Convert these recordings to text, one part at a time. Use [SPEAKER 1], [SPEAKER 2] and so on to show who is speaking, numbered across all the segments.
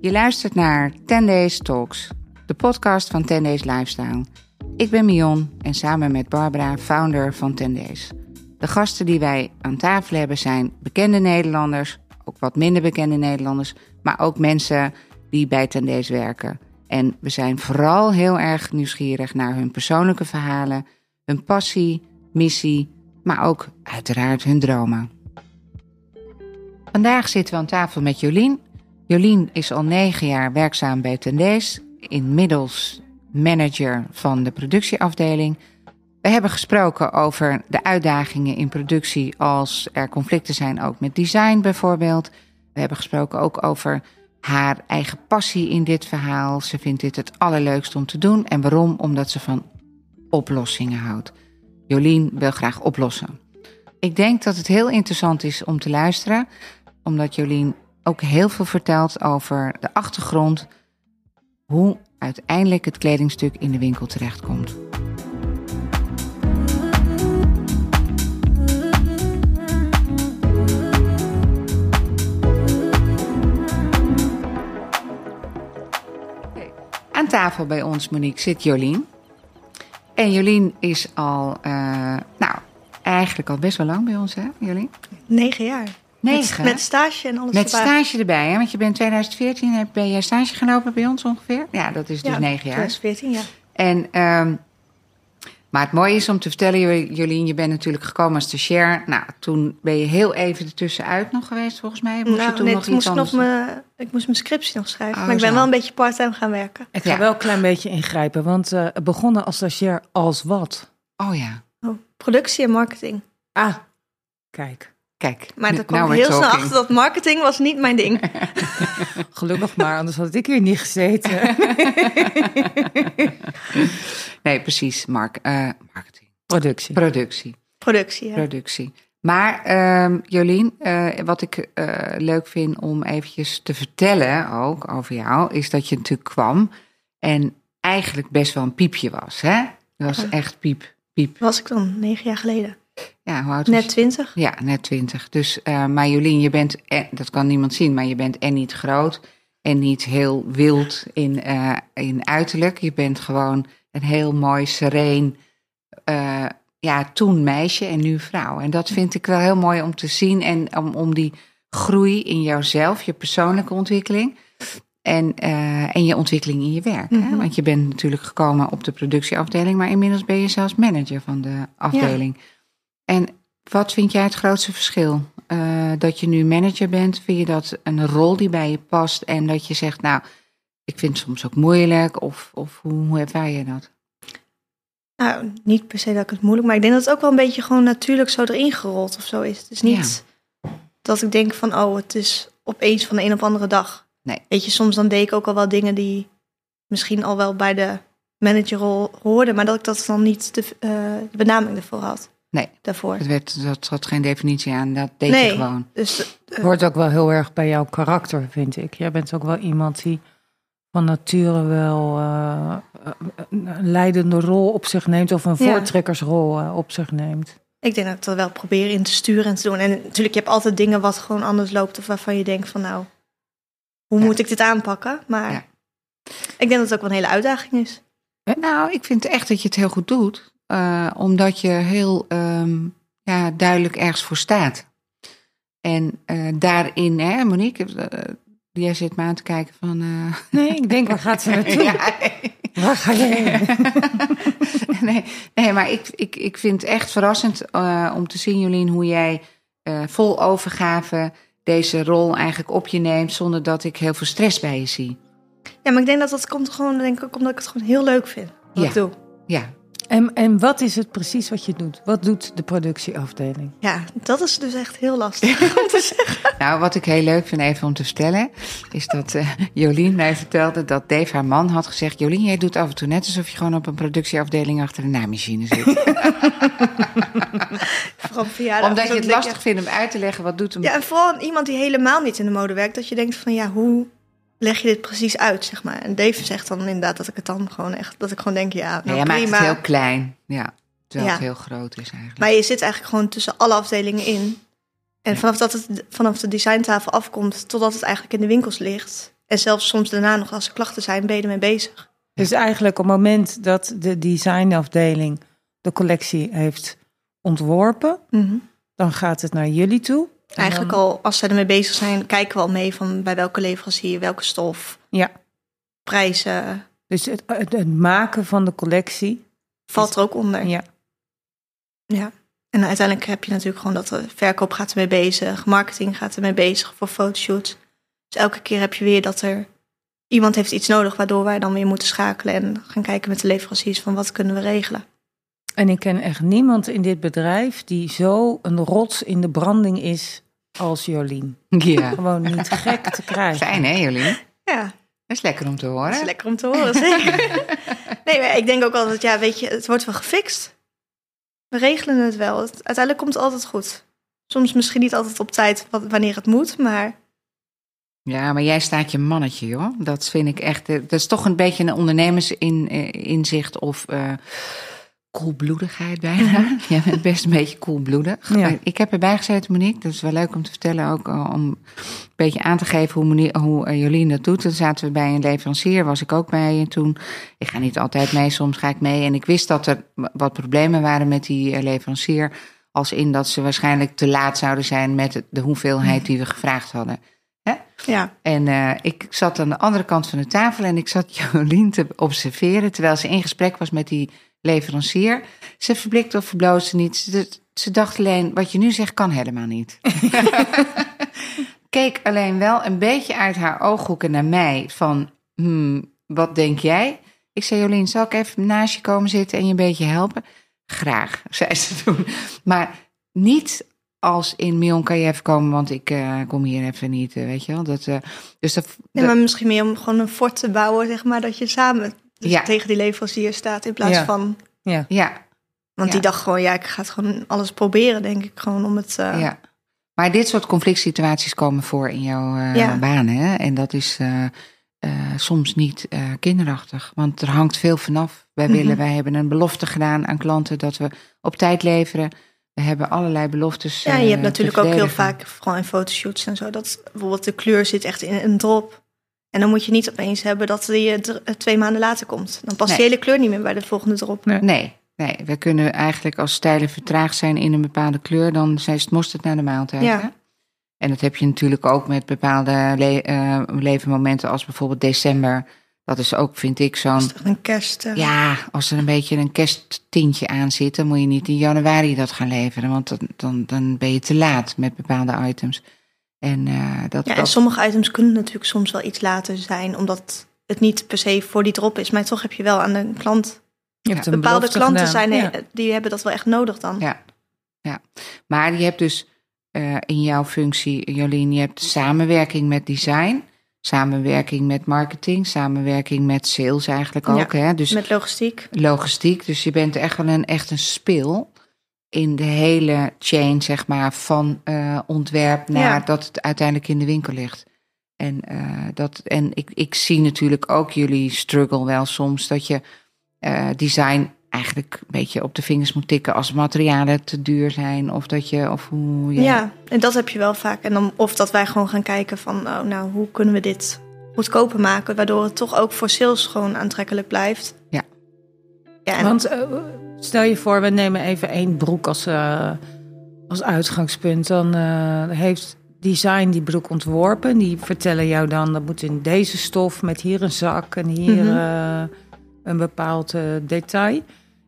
[SPEAKER 1] Je luistert naar 10 Days Talks, de podcast van 10 Days Lifestyle. Ik ben Mion en samen met Barbara, founder van 10 Days. De gasten die wij aan tafel hebben zijn bekende Nederlanders, ook wat minder bekende Nederlanders, maar ook mensen die bij 10 Days werken. En we zijn vooral heel erg nieuwsgierig naar hun persoonlijke verhalen, hun passie, missie, maar ook uiteraard hun dromen. Vandaag zitten we aan tafel met Jolien. Jolien is al negen jaar werkzaam bij Tendees, inmiddels manager van de productieafdeling. We hebben gesproken over de uitdagingen in productie als er conflicten zijn, ook met design bijvoorbeeld. We hebben gesproken ook over haar eigen passie in dit verhaal. Ze vindt dit het allerleukst om te doen en waarom? Omdat ze van oplossingen houdt. Jolien wil graag oplossen. Ik denk dat het heel interessant is om te luisteren, omdat Jolien ook heel veel vertelt over de achtergrond, hoe uiteindelijk het kledingstuk in de winkel terechtkomt. Aan tafel bij ons, Monique, zit Jolien. En Jolien is al, eh, nou, eigenlijk al best wel lang bij ons, hè, Jolien?
[SPEAKER 2] Negen jaar.
[SPEAKER 1] Negen?
[SPEAKER 2] Met, met stage en alles
[SPEAKER 1] Met
[SPEAKER 2] erbij.
[SPEAKER 1] stage erbij, hè? Want je bent 2014, heb- ben jij stage gelopen bij ons ongeveer? Ja, dat is dus
[SPEAKER 2] Ja,
[SPEAKER 1] negen jaar.
[SPEAKER 2] 2014, ja.
[SPEAKER 1] En, ehm, maar het mooie is om te vertellen, Jo- Jolien, je bent natuurlijk gekomen als stagiair. Nou, toen ben je heel even ertussenuit nog geweest, volgens mij. Moest je
[SPEAKER 2] Nou,
[SPEAKER 1] toen
[SPEAKER 2] nee,
[SPEAKER 1] nog
[SPEAKER 2] toen
[SPEAKER 1] iets
[SPEAKER 2] moest ik,
[SPEAKER 1] anders
[SPEAKER 2] nog mijn, ik moest mijn scriptie nog schrijven.
[SPEAKER 1] Oh,
[SPEAKER 2] maar ik ben
[SPEAKER 1] zo.
[SPEAKER 2] wel een beetje part-time gaan werken.
[SPEAKER 3] Ik ga
[SPEAKER 1] Ja.
[SPEAKER 3] wel een klein beetje ingrijpen, want eh, begonnen als stagiair als wat?
[SPEAKER 1] Oh ja,
[SPEAKER 2] Oh, productie en marketing.
[SPEAKER 3] Ah, kijk.
[SPEAKER 1] kijk. nou
[SPEAKER 2] Maar
[SPEAKER 1] nu-
[SPEAKER 2] daar kwam
[SPEAKER 1] now
[SPEAKER 2] ik
[SPEAKER 1] we're
[SPEAKER 2] heel snel
[SPEAKER 1] talking.
[SPEAKER 2] achter dat marketing was niet mijn ding.
[SPEAKER 3] Gelukkig maar, anders had ik hier niet gezeten.
[SPEAKER 1] Nee, precies, mark, eh, marketing.
[SPEAKER 3] Productie.
[SPEAKER 1] Productie.
[SPEAKER 2] Productie, ja.
[SPEAKER 1] productie. Maar ehm, Jolien, eh, wat ik eh, leuk vind om eventjes te vertellen ook over jou, is dat je natuurlijk kwam en eigenlijk best wel een piepje was, hè? Je was
[SPEAKER 2] Ja.
[SPEAKER 1] echt piep, piep.
[SPEAKER 2] Was ik dan, negen jaar geleden.
[SPEAKER 1] Ja, hoe oud was
[SPEAKER 2] Net
[SPEAKER 1] je?
[SPEAKER 2] twintig.
[SPEAKER 1] Ja, net twintig. Dus, eh, maar Jolien, je bent, eh, dat kan niemand zien, maar je bent en niet groot en niet heel wild in, eh, in uiterlijk. Je bent gewoon een heel mooi, sereen, eh, ja, toen meisje en nu vrouw. En dat vind ik wel heel mooi om te zien en om, om die groei in jouzelf, je persoonlijke ontwikkeling. En, eh, en je ontwikkeling in je werk. hè?
[SPEAKER 2] Mhm.
[SPEAKER 1] Want je bent natuurlijk gekomen op de productieafdeling, maar inmiddels ben je zelfs manager van de afdeling. En wat vind jij het grootste verschil? Eh, dat je nu manager bent, vind je dat een rol die bij je past en dat je zegt, nou, ik vind het soms ook moeilijk of, of hoe, hoe ervaar je dat?
[SPEAKER 2] Nou, niet per se dat ik het moeilijk... Maar ik denk dat het ook wel een beetje gewoon natuurlijk zo erin gerold of zo is. Het is niet dat ik denk van, oh, het is opeens van de een op de andere dag.
[SPEAKER 1] Nee.
[SPEAKER 2] Weet je, soms dan deed ik ook al wel dingen die misschien al wel bij de managerrol hoorden, maar dat ik dat dan niet de, eh, de benaming ervoor had.
[SPEAKER 1] Nee.
[SPEAKER 2] Daarvoor.
[SPEAKER 1] Het werd, dat had geen definitie aan, dat deed je
[SPEAKER 2] Nee.
[SPEAKER 1] gewoon.
[SPEAKER 2] Dus
[SPEAKER 3] Hoort ook wel heel erg bij jouw karakter, vind ik. Jij bent ook wel iemand die van nature wel eh, een leidende rol op zich neemt... of een
[SPEAKER 2] Ja.
[SPEAKER 3] voortrekkersrol eh, op zich neemt.
[SPEAKER 2] ik denk dat ik dat wel probeer in te sturen en te doen. En natuurlijk, je hebt altijd dingen wat gewoon anders loopt of waarvan je denkt van, nou, hoe
[SPEAKER 1] Ja.
[SPEAKER 2] moet ik dit aanpakken? Maar
[SPEAKER 1] Ja.
[SPEAKER 2] ik denk dat het ook wel een hele uitdaging is.
[SPEAKER 1] Nou, ik vind echt dat je het heel goed doet. eh, omdat je heel ehm, ja, duidelijk ergens voor staat. En eh, daarin, hè, Monique, eh, jij zit me aan te kijken van. eh,
[SPEAKER 3] Nee, ik denk, waar gaat ze naartoe? Waar ga je heen?
[SPEAKER 1] nee, nee, maar ik, ik, ik vind het echt verrassend eh, om te zien, Jolien, hoe jij eh, vol overgave deze rol eigenlijk op je neemt. zonder dat ik heel veel stress bij je zie.
[SPEAKER 2] Ja, maar ik denk dat dat komt gewoon, denk ik, ook omdat ik het gewoon heel leuk vind wat
[SPEAKER 1] Ja.
[SPEAKER 2] ik doe.
[SPEAKER 1] Ja,
[SPEAKER 3] En, en wat is het precies wat je doet? Wat doet de productieafdeling?
[SPEAKER 2] Ja, dat is dus echt heel lastig om te zeggen.
[SPEAKER 1] Nou, wat ik heel leuk vind even om te vertellen, is dat eh, Jolien mij vertelde dat Dave haar man had gezegd: Jolien, jij doet af en toe net alsof je gewoon op een productieafdeling achter een naaimachine zit.
[SPEAKER 2] Vooral op verjaardag.
[SPEAKER 1] Omdat
[SPEAKER 2] Zo
[SPEAKER 1] je het
[SPEAKER 2] denk
[SPEAKER 1] lastig vindt om uit te leggen wat doet hem.
[SPEAKER 2] Ja, en vooral aan iemand die helemaal niet in de mode werkt, dat je denkt van ja, hoe leg je dit precies uit, zeg maar. En Dave zegt dan inderdaad dat ik het dan gewoon echt, dat ik gewoon denk ja, nou
[SPEAKER 1] Nee, jij maakt
[SPEAKER 2] prima.
[SPEAKER 1] het heel klein, ja, terwijl het
[SPEAKER 2] Ja.
[SPEAKER 1] heel groot is eigenlijk.
[SPEAKER 2] Maar je zit eigenlijk gewoon tussen alle afdelingen in. En vanaf dat het vanaf de designtafel afkomt, totdat het eigenlijk in de winkels ligt, En zelfs soms daarna nog als er klachten zijn, ben je ermee bezig.
[SPEAKER 3] Dus eigenlijk op het moment dat de designafdeling de collectie heeft ontworpen,
[SPEAKER 1] Mhm.
[SPEAKER 3] dan gaat het naar jullie toe. En
[SPEAKER 2] Eigenlijk
[SPEAKER 3] dan-
[SPEAKER 2] al, als zij ermee bezig zijn, kijken we al mee van bij welke leverancier, welke stof,
[SPEAKER 3] Ja,
[SPEAKER 2] prijzen,
[SPEAKER 3] dus het, het, het maken van de collectie.
[SPEAKER 2] valt er ook onder.
[SPEAKER 3] Ja.
[SPEAKER 2] Ja. En uiteindelijk heb je natuurlijk gewoon dat de verkoop gaat ermee bezig, marketing gaat ermee bezig voor fotoshoots. Dus elke keer heb je weer dat er iemand heeft iets nodig, waardoor wij dan weer moeten schakelen en gaan kijken met de leveranciers van wat kunnen we regelen.
[SPEAKER 3] En ik ken echt niemand in dit bedrijf die zo een rots in de branding is als Jolien.
[SPEAKER 1] Ja.
[SPEAKER 3] Gewoon niet gek te krijgen.
[SPEAKER 1] Fijn hè, Jolien?
[SPEAKER 2] Ja,
[SPEAKER 1] Dat is lekker om te horen.
[SPEAKER 2] dat is lekker om te horen, zeker. nee, maar ik denk ook altijd, ja, weet je, het wordt wel gefixt. We regelen het wel. Het- Uiteindelijk komt het altijd goed. Soms misschien niet altijd op tijd wat- wanneer het moet, maar
[SPEAKER 1] Ja, maar jij staat je mannetje, joh. Dat vind ik echt. eh, Dat is toch een beetje een ondernemersinzicht of eh koelbloedigheid bijna. jij bent best een beetje koelbloedig. Eh,
[SPEAKER 3] Ja.
[SPEAKER 1] Ik heb erbij gezet, Monique. Dat is wel leuk om te vertellen. Ook eh, om een beetje aan te geven hoe, Monique, hoe eh, Jolien dat doet. Toen zaten we bij een leverancier, was ik ook bij. En toen, ik ga niet altijd mee, soms ga ik mee. En ik wist dat er wat problemen waren met die eh, leverancier. Als in dat ze waarschijnlijk te laat zouden zijn met het- de hoeveelheid die we gevraagd hadden.
[SPEAKER 2] ja.
[SPEAKER 1] En eh, ik zat aan de andere kant van de tafel en ik zat Jolien te observeren terwijl ze in gesprek was met die leverancier. Ze verblikte of verbloosde niet. Ze, ze dacht alleen, wat je nu zegt kan helemaal niet. Keek alleen wel een beetje uit haar ooghoeken naar mij van, hmm, wat denk jij? Ik zei, Jolien, zal ik even naast je komen zitten en je een beetje helpen? Graag, zei ze toen. Maar niet als in Mion kan je even komen, want ik eh, kom hier even niet, eh, weet je wel. Dat, eh, dus dat,
[SPEAKER 2] Ja, maar misschien meer om gewoon een fort te bouwen, zeg maar, dat je samen dus
[SPEAKER 1] Ja.
[SPEAKER 2] tegen die leverancier staat in plaats
[SPEAKER 3] Ja.
[SPEAKER 2] van.
[SPEAKER 3] Ja.
[SPEAKER 1] ja,
[SPEAKER 2] Want die
[SPEAKER 1] Ja.
[SPEAKER 2] dacht gewoon, ja, ik ga het gewoon alles proberen, denk ik, gewoon om het. eh,
[SPEAKER 1] ja. Maar dit soort conflict situaties komen voor in jouw eh,
[SPEAKER 2] Ja.
[SPEAKER 1] baan, hè? En dat is eh, eh, soms niet eh, kinderachtig, want er hangt veel vanaf. Wij,
[SPEAKER 2] Mhm.
[SPEAKER 1] willen, wij hebben een belofte gedaan aan klanten dat we op tijd leveren. We hebben allerlei beloftes.
[SPEAKER 2] Ja, en
[SPEAKER 1] eh,
[SPEAKER 2] je hebt
[SPEAKER 1] te
[SPEAKER 2] natuurlijk ook heel
[SPEAKER 1] verdedigen.
[SPEAKER 2] vaak, vooral in fotoshoots en zo, dat bijvoorbeeld de kleur zit echt in een drop. En dan moet je niet opeens hebben dat die eh, dr- eh, twee maanden later komt. Dan past
[SPEAKER 1] Nee.
[SPEAKER 2] die hele kleur niet meer bij de volgende drop.
[SPEAKER 3] Nee.
[SPEAKER 1] Nee, nee, we kunnen eigenlijk als stijlen vertraagd zijn in een bepaalde kleur, dan zijn het mosterd naar de maaltijd.
[SPEAKER 2] Ja.
[SPEAKER 1] hè? En dat heb je natuurlijk ook met bepaalde le- eh, levenmomenten, als bijvoorbeeld december. Dat is ook, vind ik,
[SPEAKER 2] Dat
[SPEAKER 1] zo'n.
[SPEAKER 2] is toch een kerst. eh,
[SPEAKER 1] Ja, als er een beetje een kersttintje aan zit, dan moet je niet in januari dat gaan leveren, want dan, dan, dan ben je te laat met bepaalde items. En eh, dat.
[SPEAKER 2] ja, en
[SPEAKER 1] dat-
[SPEAKER 2] sommige items kunnen natuurlijk soms wel iets later zijn, omdat het niet per se voor die drop is. Maar toch heb je wel aan de klant.
[SPEAKER 3] Je hebt een
[SPEAKER 2] Bepaalde
[SPEAKER 3] belofte
[SPEAKER 2] klanten
[SPEAKER 3] gedaan.
[SPEAKER 2] zijn,
[SPEAKER 3] Ja.
[SPEAKER 2] eh, die hebben dat wel echt nodig dan.
[SPEAKER 1] Ja, ja. Maar je hebt dus eh, in jouw functie, Jolien, je hebt samenwerking met design, samenwerking met marketing, samenwerking met sales eigenlijk ook. Hè? Dus
[SPEAKER 2] Met logistiek.
[SPEAKER 1] logistiek. Dus je bent echt wel een, echt een speel in de hele chain, zeg maar, van eh, ontwerp naar
[SPEAKER 2] Ja.
[SPEAKER 1] dat het uiteindelijk in de winkel ligt. En, eh, dat, en ik, ik zie natuurlijk ook jullie struggle wel soms dat je eh, design eigenlijk een beetje op de vingers moet tikken als materialen te duur zijn of dat je of hoe je-
[SPEAKER 2] Ja. en dat heb je wel vaak. En dan, of dat wij gewoon gaan kijken van, oh, nou, hoe kunnen we dit goedkoper maken, waardoor het toch ook voor sales gewoon aantrekkelijk blijft.
[SPEAKER 1] Ja.
[SPEAKER 2] Ja, en
[SPEAKER 3] Want eh, stel je voor, we nemen even één broek als, eh, als uitgangspunt. Dan eh, heeft design die broek ontworpen. Die vertellen jou dan, dat moet in deze stof met hier een zak en hier
[SPEAKER 2] Mhm.
[SPEAKER 3] eh, een bepaald eh, detail.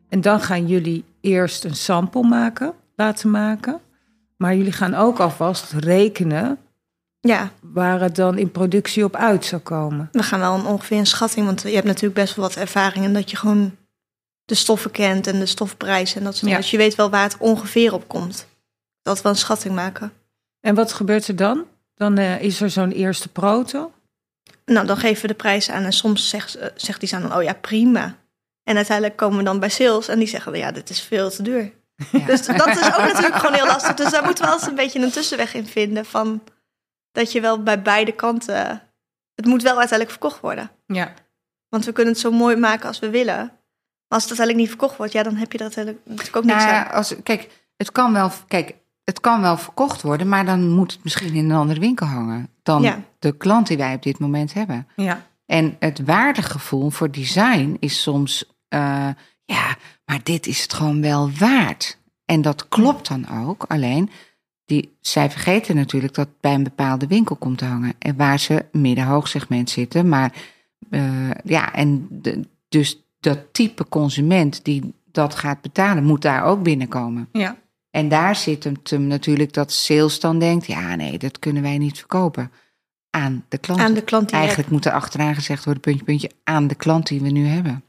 [SPEAKER 3] En dan gaan jullie eerst een sample maken, laten maken. Maar jullie gaan ook alvast rekenen
[SPEAKER 2] ja,
[SPEAKER 3] waar het dan in productie op uit zou komen.
[SPEAKER 2] we gaan wel een, ongeveer een schatting, want je hebt natuurlijk best wel wat ervaring en dat je gewoon de stoffen kent en de stofprijzen en dat soort
[SPEAKER 3] Ja.
[SPEAKER 2] dingen. Dus je weet wel waar het ongeveer op komt. Dat we een schatting maken.
[SPEAKER 3] En wat gebeurt er dan? Dan eh, is er zo'n eerste proto.
[SPEAKER 2] Nou, dan geven we de prijs aan en soms zegt, eh, zegt die dan, oh ja, prima. En uiteindelijk komen we dan bij sales en die zeggen, "Nou ja, dit is veel te duur.
[SPEAKER 1] Ja.
[SPEAKER 2] Dus dat is ook natuurlijk gewoon heel lastig. Dus daar moeten we altijd een beetje een tussenweg in vinden van dat je wel bij beide kanten, het moet wel uiteindelijk verkocht worden.
[SPEAKER 3] Ja.
[SPEAKER 2] Want we kunnen het zo mooi maken als we willen. Maar als het uiteindelijk niet verkocht wordt, ja, dan heb je er uiteindelijk natuurlijk ook niks
[SPEAKER 1] Nou,
[SPEAKER 2] aan.
[SPEAKER 1] als, kijk, het kan wel, kijk, het kan wel verkocht worden, maar dan moet het misschien in een andere winkel hangen. Dan,
[SPEAKER 2] Ja.
[SPEAKER 1] de klant die wij op dit moment hebben.
[SPEAKER 3] Ja.
[SPEAKER 1] En het waardegevoel voor design is soms, eh, ja, maar dit is het gewoon wel waard. En dat klopt dan ook, alleen die, zij vergeten natuurlijk dat het bij een bepaalde winkel komt te hangen. En waar ze middenhoog segment zitten. Maar eh, ja, en de- dus dat type consument die dat gaat betalen, moet daar ook binnenkomen.
[SPEAKER 3] Ja.
[SPEAKER 1] En daar zit hem, hem natuurlijk dat sales dan denkt: ja, nee, dat kunnen wij niet verkopen. Aan de klant.
[SPEAKER 2] Aan de klant die
[SPEAKER 1] Eigenlijk moet er achteraan gezegd worden: puntje, puntje, aan de klant die we nu hebben.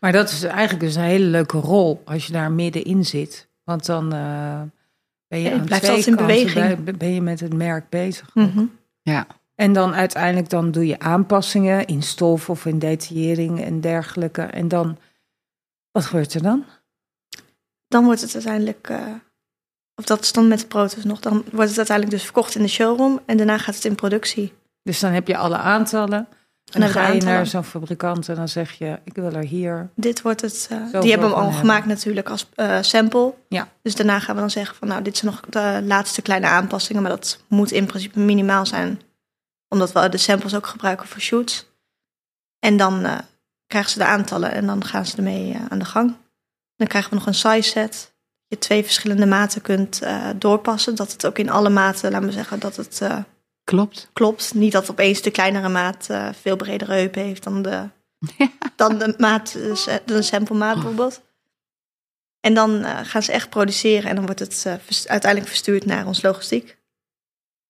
[SPEAKER 3] Maar dat is eigenlijk dus een hele leuke rol als je daar middenin zit. Want dan eh, ben je
[SPEAKER 2] Ja, je
[SPEAKER 3] aan
[SPEAKER 2] blijft
[SPEAKER 3] twee
[SPEAKER 2] altijd in
[SPEAKER 3] kanten
[SPEAKER 2] beweging.
[SPEAKER 3] bij- ben je met het merk bezig.
[SPEAKER 2] hebt. Mhm.
[SPEAKER 1] Ja,
[SPEAKER 3] En dan uiteindelijk dan doe je aanpassingen in stof of in detaillering en dergelijke. En dan, wat gebeurt er dan?
[SPEAKER 2] Dan wordt het uiteindelijk, eh, of dat is dan met de proto's nog, dan wordt het uiteindelijk dus verkocht in de showroom en daarna gaat het in productie.
[SPEAKER 3] Dus dan heb je alle aantallen. En
[SPEAKER 2] Dan
[SPEAKER 3] dan
[SPEAKER 2] heb je
[SPEAKER 3] ga je
[SPEAKER 2] aantallen.
[SPEAKER 3] naar zo'n fabrikant en dan zeg je, ik wil er hier.
[SPEAKER 2] Dit wordt het, eh,
[SPEAKER 3] Zoveel
[SPEAKER 2] die hebben hem
[SPEAKER 3] van
[SPEAKER 2] al
[SPEAKER 3] hebben.
[SPEAKER 2] gemaakt natuurlijk als eh, sample.
[SPEAKER 3] Ja.
[SPEAKER 2] Dus daarna gaan we dan zeggen van nou, dit zijn nog de laatste kleine aanpassingen, maar dat moet in principe minimaal zijn. Omdat we de samples ook gebruiken voor shoots. En dan eh, krijgen ze de aantallen en dan gaan ze ermee eh, aan de gang. Dan krijgen we nog een size set. Je twee verschillende maten kunt eh, doorpassen. Dat het ook in alle maten, laten we zeggen, dat het eh,
[SPEAKER 1] klopt.
[SPEAKER 2] klopt. Niet dat opeens de kleinere maat eh, veel bredere heupen heeft dan de, dan de maat, eh, sa- de sample maat
[SPEAKER 1] Oh.
[SPEAKER 2] bijvoorbeeld. En dan eh, gaan ze echt produceren en dan wordt het eh, vers- uiteindelijk verstuurd naar ons logistiek.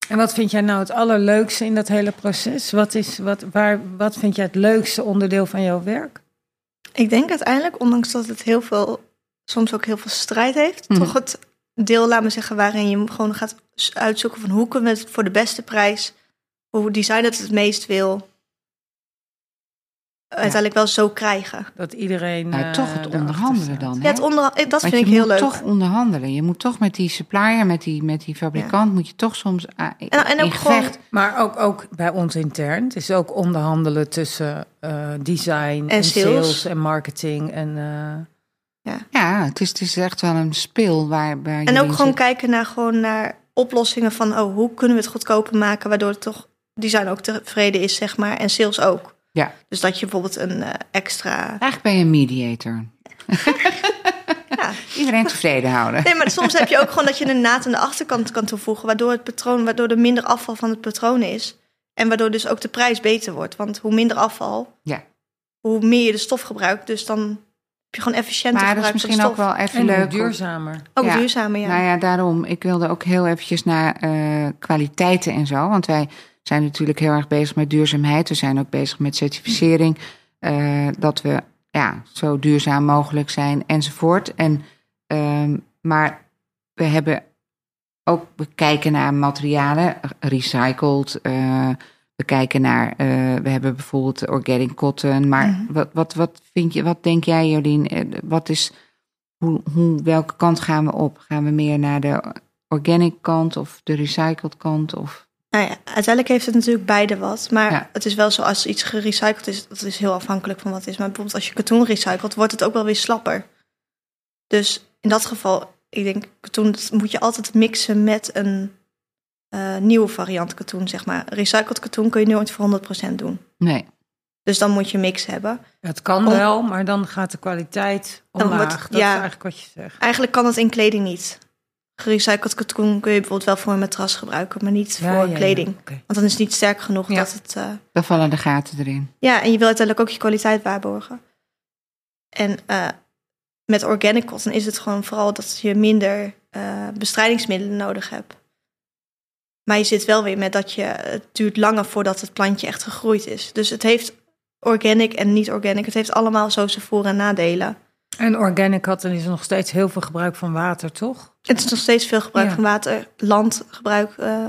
[SPEAKER 3] En wat vind jij nou het allerleukste in dat hele proces? Wat, is, wat, waar, wat vind jij het leukste onderdeel van jouw werk?
[SPEAKER 2] Ik denk uiteindelijk, ondanks dat het heel veel, soms ook heel veel strijd heeft,
[SPEAKER 1] Mhm.
[SPEAKER 2] toch het deel, laat me zeggen, waarin je gewoon gaat s- uitzoeken van hoe kunnen we het voor de beste prijs, hoe design het het meest wil, uiteindelijk wel zo krijgen.
[SPEAKER 3] Dat iedereen.
[SPEAKER 1] Nou,
[SPEAKER 3] eh,
[SPEAKER 1] toch het
[SPEAKER 3] erachter
[SPEAKER 1] onderhandelen
[SPEAKER 3] staat.
[SPEAKER 1] dan.
[SPEAKER 2] Ja,
[SPEAKER 1] hè?
[SPEAKER 2] het onder, eh, dat
[SPEAKER 1] Want
[SPEAKER 2] vind
[SPEAKER 1] je
[SPEAKER 2] ik heel
[SPEAKER 1] moet
[SPEAKER 2] leuk.
[SPEAKER 1] toch onderhandelen. Je moet toch met die supplier, met die, met die fabrikant, moet je toch soms ah, in,
[SPEAKER 2] En- en ook
[SPEAKER 1] in gevecht.
[SPEAKER 3] Maar ook, ook bij ons intern. Het is ook onderhandelen tussen eh, design en, sales.
[SPEAKER 2] sales.
[SPEAKER 3] en marketing. En, eh,
[SPEAKER 1] Ja, het is, het is echt wel een speel waar, waar
[SPEAKER 2] En
[SPEAKER 1] jullie
[SPEAKER 2] ook
[SPEAKER 1] in
[SPEAKER 2] gewoon
[SPEAKER 1] zitten.
[SPEAKER 2] kijken naar, gewoon naar oplossingen van oh, hoe kunnen we het goedkoper maken, waardoor het toch design ook tevreden is, zeg maar, en sales ook.
[SPEAKER 1] Ja.
[SPEAKER 2] Dus dat je bijvoorbeeld een eh, extra.
[SPEAKER 1] Eigenlijk ben je een mediator.
[SPEAKER 2] Ja.
[SPEAKER 1] Iedereen tevreden houden.
[SPEAKER 2] Nee, maar soms heb je ook gewoon dat je een naad aan de achterkant kan toevoegen, waardoor het patroon, waardoor er minder afval van het patroon is. En waardoor dus ook de prijs beter wordt. Want hoe minder afval,
[SPEAKER 1] Ja.
[SPEAKER 2] hoe meer je de stof gebruikt, dus dan heb je gewoon efficiënter
[SPEAKER 1] Maar dat is
[SPEAKER 2] gebruik van
[SPEAKER 1] misschien
[SPEAKER 2] de
[SPEAKER 1] ook
[SPEAKER 2] stof.
[SPEAKER 1] wel even
[SPEAKER 3] en
[SPEAKER 1] leuk. om-
[SPEAKER 3] duurzamer.
[SPEAKER 2] ook
[SPEAKER 1] ja.
[SPEAKER 2] duurzamer, ja.
[SPEAKER 1] Nou ja, daarom. Ik wilde ook heel eventjes naar eh, kwaliteiten en zo. Want wij zijn natuurlijk heel erg bezig met duurzaamheid. We zijn ook bezig met certificering. eh, dat we ja, zo duurzaam mogelijk zijn enzovoort. En, ehm, maar we hebben ook, we kijken naar materialen, recycled. eh, we kijken naar, eh, we hebben bijvoorbeeld organic cotton. Maar wat, wat, wat vind je, wat denk jij Jolien? eh, Wat is hoe, hoe, welke kant gaan we op? Gaan we meer naar de organic kant of de recycled kant? Of,
[SPEAKER 2] Nou ja, uiteindelijk heeft het natuurlijk beide wat. Maar
[SPEAKER 1] Ja.
[SPEAKER 2] het is wel zo, als iets gerecycled is, dat is heel afhankelijk van wat het is. Maar bijvoorbeeld als je katoen recycelt, wordt het ook wel weer slapper. Dus in dat geval, ik denk, katoen dat moet je altijd mixen met een eh, nieuwe variant katoen, zeg maar. Recycled katoen kun je nooit voor 100% doen.
[SPEAKER 1] nee,
[SPEAKER 2] Dus dan moet je een mix hebben.
[SPEAKER 3] Het kan
[SPEAKER 2] Om-
[SPEAKER 3] wel, maar dan gaat de kwaliteit
[SPEAKER 2] Dan
[SPEAKER 3] omlaag.
[SPEAKER 2] wordt-
[SPEAKER 3] dat
[SPEAKER 2] ja.
[SPEAKER 3] is eigenlijk wat je zegt.
[SPEAKER 2] Eigenlijk kan dat in kleding niet. Gerecycled katoen kun je bijvoorbeeld wel voor een matras gebruiken, maar niet
[SPEAKER 3] Ja,
[SPEAKER 2] voor
[SPEAKER 3] ja, ja.
[SPEAKER 2] kleding.
[SPEAKER 3] Oké.
[SPEAKER 2] Want dan is het niet sterk genoeg
[SPEAKER 3] Ja.
[SPEAKER 2] dat het... eh,
[SPEAKER 1] daar vallen de gaten erin.
[SPEAKER 2] Ja, en je wil uiteindelijk ook je kwaliteit waarborgen. En eh, met organic cotton is het gewoon vooral dat je minder eh, bestrijdingsmiddelen nodig hebt. Maar je zit wel weer met dat je, het duurt langer voordat het plantje echt gegroeid is. Dus het heeft organic en niet organic, het heeft allemaal zo zijn voor- en nadelen.
[SPEAKER 3] En organic cotton is er nog steeds heel veel gebruik van water, toch?
[SPEAKER 2] Het is nog steeds veel gebruik
[SPEAKER 3] Ja.
[SPEAKER 2] van water, landgebruik. eh,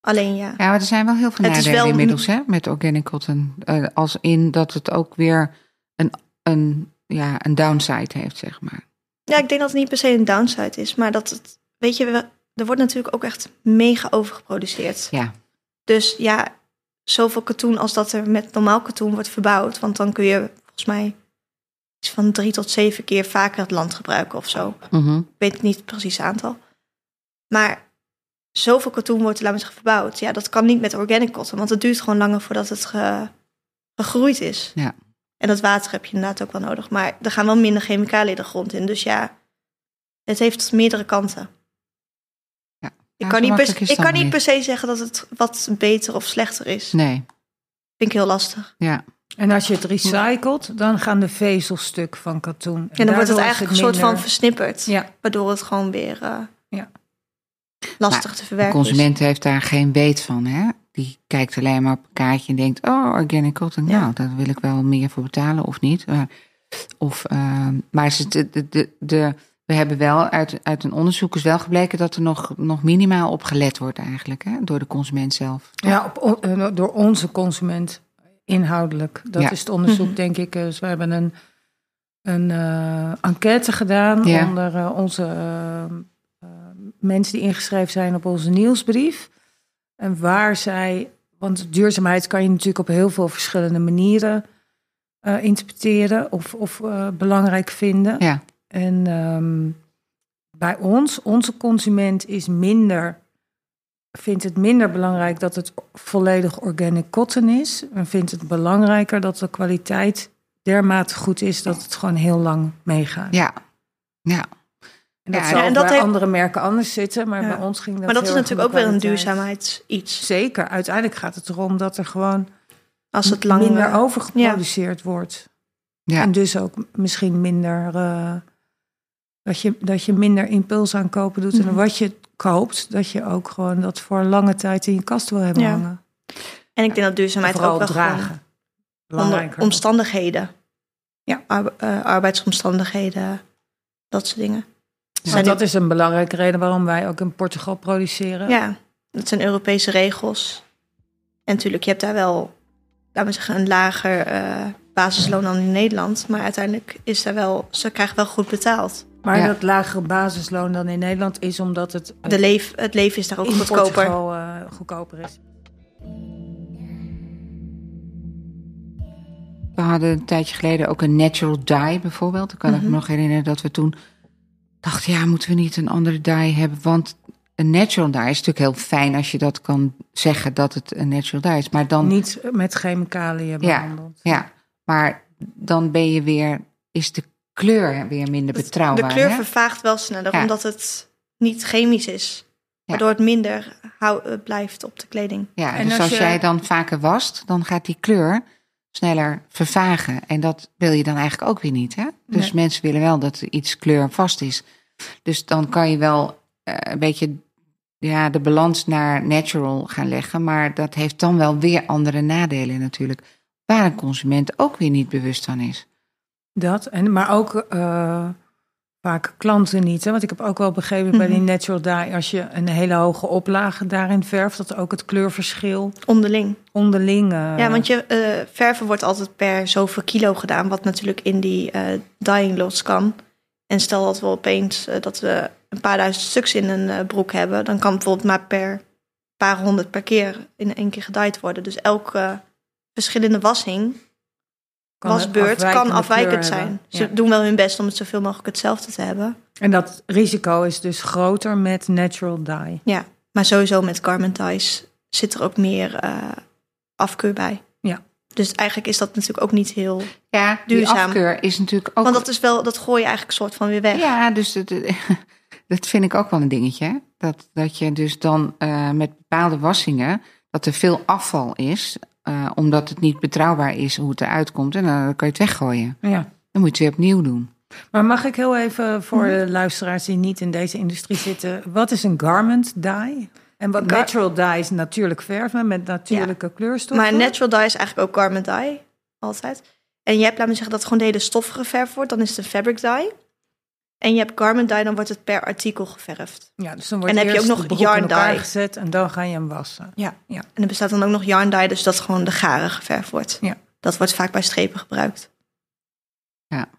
[SPEAKER 2] alleen ja.
[SPEAKER 1] Ja, maar er zijn wel heel veel
[SPEAKER 2] Het is
[SPEAKER 1] nadelen
[SPEAKER 2] wel-
[SPEAKER 1] inmiddels hè, met organic cotton. Eh, als in dat het ook weer een, een, ja, een downside heeft, zeg maar.
[SPEAKER 2] Ja, ik denk dat het niet per se een downside is, maar dat het, weet je, we- er wordt natuurlijk ook echt mega overgeproduceerd.
[SPEAKER 1] Ja,
[SPEAKER 2] Dus ja, zoveel katoen als dat er met normaal katoen wordt verbouwd, want dan kun je volgens mij iets van drie tot zeven keer vaker het land gebruiken of zo.
[SPEAKER 1] Mhm.
[SPEAKER 2] Ik weet niet het precieze aantal. Maar zoveel katoen wordt, laat maar zeggen, verbouwd. Ja, dat kan niet met organic cotton, want het duurt gewoon langer voordat het ge- gegroeid is.
[SPEAKER 1] Ja.
[SPEAKER 2] En dat water heb je inderdaad ook wel nodig. Maar er gaan wel minder chemicaliën de grond in. Dus ja, het heeft meerdere kanten.
[SPEAKER 1] Ja.
[SPEAKER 2] Ik,
[SPEAKER 1] Ja,
[SPEAKER 2] kan
[SPEAKER 1] zo
[SPEAKER 2] niet,
[SPEAKER 1] makkelijk
[SPEAKER 2] per,
[SPEAKER 1] is
[SPEAKER 2] ik
[SPEAKER 1] dat
[SPEAKER 2] kan niet
[SPEAKER 1] niet.
[SPEAKER 2] per se zeggen dat het wat beter of slechter is.
[SPEAKER 1] Nee,
[SPEAKER 2] Vind ik heel lastig.
[SPEAKER 1] ja.
[SPEAKER 3] En als je het recyclet, dan gaan de vezels stuk van katoen. En,
[SPEAKER 2] En dan wordt
[SPEAKER 3] daardoor
[SPEAKER 2] het
[SPEAKER 3] is
[SPEAKER 2] eigenlijk een soort van
[SPEAKER 3] minder-
[SPEAKER 2] versnipperd.
[SPEAKER 3] Ja,
[SPEAKER 2] Waardoor het gewoon weer eh,
[SPEAKER 3] Ja.
[SPEAKER 2] lastig
[SPEAKER 1] Maar
[SPEAKER 2] te
[SPEAKER 1] De
[SPEAKER 2] verwerken
[SPEAKER 1] consument heeft daar geen weet van, hè? Die kijkt alleen maar op een kaartje en denkt: Oh, organic cotton.
[SPEAKER 2] Ja.
[SPEAKER 1] Nou, daar wil ik wel meer voor betalen of niet. Maar, of, ehm, maar ze, de, de, de, de- we hebben wel uit, uit een onderzoek is wel gebleken dat er nog, nog minimaal op gelet wordt, eigenlijk, hè? Door de consument zelf.
[SPEAKER 3] ja op, on- eh, door onze consument inhoudelijk. Dat
[SPEAKER 1] Ja.
[SPEAKER 3] is het onderzoek,
[SPEAKER 2] Mhm.
[SPEAKER 3] denk ik. Dus we hebben een, een eh, enquête gedaan
[SPEAKER 1] Ja.
[SPEAKER 3] onder eh, onze eh, eh, mensen die ingeschreven zijn op onze nieuwsbrief. En waar zij, want duurzaamheid kan je natuurlijk op heel veel verschillende manieren eh, interpreteren of, of eh, belangrijk vinden.
[SPEAKER 1] Ja,
[SPEAKER 3] En ehm, bij ons, onze consument is minder, vindt het minder belangrijk dat het volledig organic cotton is. En vindt het belangrijker dat de kwaliteit dermate goed is dat het gewoon heel lang meegaat.
[SPEAKER 1] ja, ja.
[SPEAKER 3] En dat
[SPEAKER 1] Ja,
[SPEAKER 3] zal
[SPEAKER 2] en
[SPEAKER 3] en
[SPEAKER 2] dat
[SPEAKER 3] bij
[SPEAKER 2] heeft-
[SPEAKER 3] andere merken anders zitten, maar
[SPEAKER 2] Ja.
[SPEAKER 3] bij ons ging dat
[SPEAKER 2] Maar dat
[SPEAKER 3] heel
[SPEAKER 2] is
[SPEAKER 3] erg om
[SPEAKER 2] natuurlijk ook
[SPEAKER 3] de
[SPEAKER 2] weer een
[SPEAKER 3] kwaliteit.
[SPEAKER 2] duurzaamheidsiets.
[SPEAKER 3] Zeker, uiteindelijk gaat het erom dat er gewoon
[SPEAKER 2] Als het lang
[SPEAKER 3] minder
[SPEAKER 2] eh,
[SPEAKER 3] overgeproduceerd wordt.
[SPEAKER 1] Ja.
[SPEAKER 3] En dus ook misschien minder. eh, dat, je, dat je minder impuls aankopen doet. En
[SPEAKER 2] Mhm.
[SPEAKER 3] wat je koopt, dat je ook gewoon dat voor lange tijd in je kast wil hebben
[SPEAKER 2] Ja.
[SPEAKER 3] hangen.
[SPEAKER 2] En ik denk dat
[SPEAKER 3] En
[SPEAKER 2] duurzaamheid
[SPEAKER 3] vooral
[SPEAKER 2] ook wel gewoon
[SPEAKER 3] dragen.
[SPEAKER 2] onder
[SPEAKER 3] Belangrijker.
[SPEAKER 2] omstandigheden.
[SPEAKER 3] Ja.
[SPEAKER 2] Arbe- eh, arbeidsomstandigheden, dat soort dingen.
[SPEAKER 3] Want
[SPEAKER 2] zijn
[SPEAKER 3] dat eh, is een belangrijke reden waarom wij ook in Portugal produceren.
[SPEAKER 2] Ja, dat zijn Europese regels. En natuurlijk, je hebt daar wel, laten we zeggen, een lager eh, basisloon dan in Nederland. Maar uiteindelijk is daar wel, ze krijgen wel goed betaald.
[SPEAKER 3] Maar
[SPEAKER 1] Ja.
[SPEAKER 3] dat lagere basisloon dan in Nederland is omdat het eh,
[SPEAKER 2] De leef, het leven is daar ook
[SPEAKER 3] in
[SPEAKER 2] goedkoper.
[SPEAKER 3] Portugal eh, goedkoper is.
[SPEAKER 1] We hadden een tijdje geleden ook een natural dye bijvoorbeeld. Ik kan ik me nog herinneren dat we toen dachten, ja, moeten we niet een andere dye hebben? Want een natural dye is natuurlijk heel fijn als je dat kan zeggen dat het een natural dye is. Maar dan,
[SPEAKER 3] Niet met chemicaliën behandeld.
[SPEAKER 1] ja, maar dan ben je weer, is de kleur weer minder betrouwbaar.
[SPEAKER 2] De kleur
[SPEAKER 1] hè?
[SPEAKER 2] vervaagt wel sneller,
[SPEAKER 1] Ja.
[SPEAKER 2] omdat het niet chemisch is. Waardoor het minder hou, eh, blijft op de kleding.
[SPEAKER 1] Ja,
[SPEAKER 3] En
[SPEAKER 1] dus als,
[SPEAKER 3] als je-
[SPEAKER 1] jij dan vaker wast, dan gaat die kleur sneller vervagen. En dat wil je dan eigenlijk ook weer niet. Hè? Dus
[SPEAKER 3] Nee.
[SPEAKER 1] mensen willen wel dat er iets kleurvast is. Dus dan kan je wel eh, een beetje ja, de balans naar natural gaan leggen. Maar dat heeft dan wel weer andere nadelen natuurlijk. Waar een consument ook weer niet bewust van is.
[SPEAKER 3] Dat, en, maar ook eh, vaak klanten niet. Hè? Want ik heb ook wel begrepen bij
[SPEAKER 2] Mhm.
[SPEAKER 3] die natural dye... als je een hele hoge oplage daarin verft... dat ook het kleurverschil
[SPEAKER 2] Onderling.
[SPEAKER 3] onderling... eh,
[SPEAKER 2] Ja, want je eh, verven wordt altijd per zoveel kilo gedaan, wat natuurlijk in die eh, dyeing lots kan. En stel dat we opeens eh, dat we een paar duizend stuks in een eh, broek hebben, dan kan bijvoorbeeld maar per paar honderd per keer in één keer gedyeerd worden. Dus elke verschillende wassing,
[SPEAKER 3] kan
[SPEAKER 2] wasbeurt,
[SPEAKER 3] afwijkende
[SPEAKER 2] kan afwijkend
[SPEAKER 3] kleur
[SPEAKER 2] zijn.
[SPEAKER 3] hebben.
[SPEAKER 2] Ze
[SPEAKER 3] Ja.
[SPEAKER 2] doen wel hun best om het zoveel mogelijk hetzelfde te hebben.
[SPEAKER 3] En dat risico is dus groter met natural dye.
[SPEAKER 2] Ja, maar sowieso met garment dyes zit er ook meer eh, afkeur bij.
[SPEAKER 3] Ja.
[SPEAKER 2] Dus eigenlijk is dat natuurlijk ook niet heel...
[SPEAKER 1] Ja, die
[SPEAKER 2] Duurzaam.
[SPEAKER 1] afkeur is natuurlijk ook...
[SPEAKER 2] Want dat is wel, dat gooi je eigenlijk soort van weer weg.
[SPEAKER 1] Ja, dus dat, dat vind ik ook wel een dingetje. hè. Dat, dat je dus dan eh, met bepaalde wassingen, dat er veel afval is, eh, omdat het niet betrouwbaar is hoe het eruit komt. En dan kan je het weggooien.
[SPEAKER 3] Ja.
[SPEAKER 1] Dan moet je het weer opnieuw doen.
[SPEAKER 3] Maar mag ik heel even voor
[SPEAKER 2] Mhm.
[SPEAKER 3] de luisteraars die niet in deze industrie zitten... wat is een garment dye? En wat
[SPEAKER 2] Gar-
[SPEAKER 3] natural dye is natuurlijk verven met natuurlijke kleurstoffen.
[SPEAKER 2] Maar natural dye is eigenlijk ook garment dye, altijd. En je hebt, laat me zeggen, dat gewoon de hele stof geverfd wordt. Dan is het een fabric dye. En je hebt garment dye, dan wordt het per artikel geverfd.
[SPEAKER 3] Ja, dus dan wordt
[SPEAKER 2] En heb je
[SPEAKER 3] eerst
[SPEAKER 2] ook nog
[SPEAKER 3] de broek in
[SPEAKER 2] yarn
[SPEAKER 3] elkaar
[SPEAKER 2] dye.
[SPEAKER 3] gezet en dan ga je hem wassen.
[SPEAKER 2] Ja.
[SPEAKER 3] ja.
[SPEAKER 2] En er bestaat dan ook nog yarn dye, dus dat gewoon de garen geverfd wordt.
[SPEAKER 3] Ja.
[SPEAKER 2] Dat wordt vaak bij strepen gebruikt.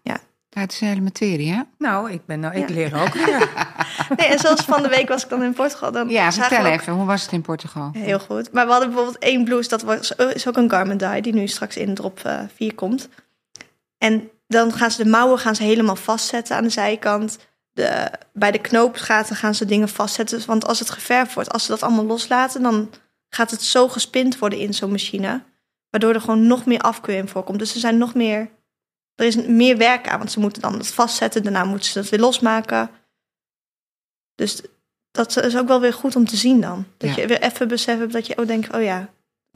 [SPEAKER 1] Ja, het is een hele materie, hè?
[SPEAKER 3] Nou, ik, ben nou, ik
[SPEAKER 2] Ja.
[SPEAKER 3] leer ook weer.
[SPEAKER 2] Nee, en zoals van de week was ik dan in Portugal. Dan
[SPEAKER 1] Ja,
[SPEAKER 2] zagen
[SPEAKER 1] vertel
[SPEAKER 2] we ook-
[SPEAKER 1] even, hoe was het in Portugal?
[SPEAKER 2] Heel goed. Maar we hadden bijvoorbeeld één blouse, dat was, oh, is ook een garment dye, die nu straks in drop eh 4 komt. En dan gaan ze de mouwen gaan ze helemaal vastzetten aan de zijkant. de, bij de knoopsgaten gaan ze dingen vastzetten. Dus, Want als het geverfd wordt, als ze dat allemaal loslaten, dan gaat het zo gespind worden in zo'n machine. Waardoor er gewoon nog meer afkeur in voorkomt. Dus er zijn nog meer. Er is meer werk aan, want ze moeten dan dat vastzetten. Daarna moeten ze dat weer losmaken. Dus dat is ook wel weer goed om te zien dan. Dat
[SPEAKER 1] Ja.
[SPEAKER 2] je weer even beseft hebt dat je ook denkt: oh ja, er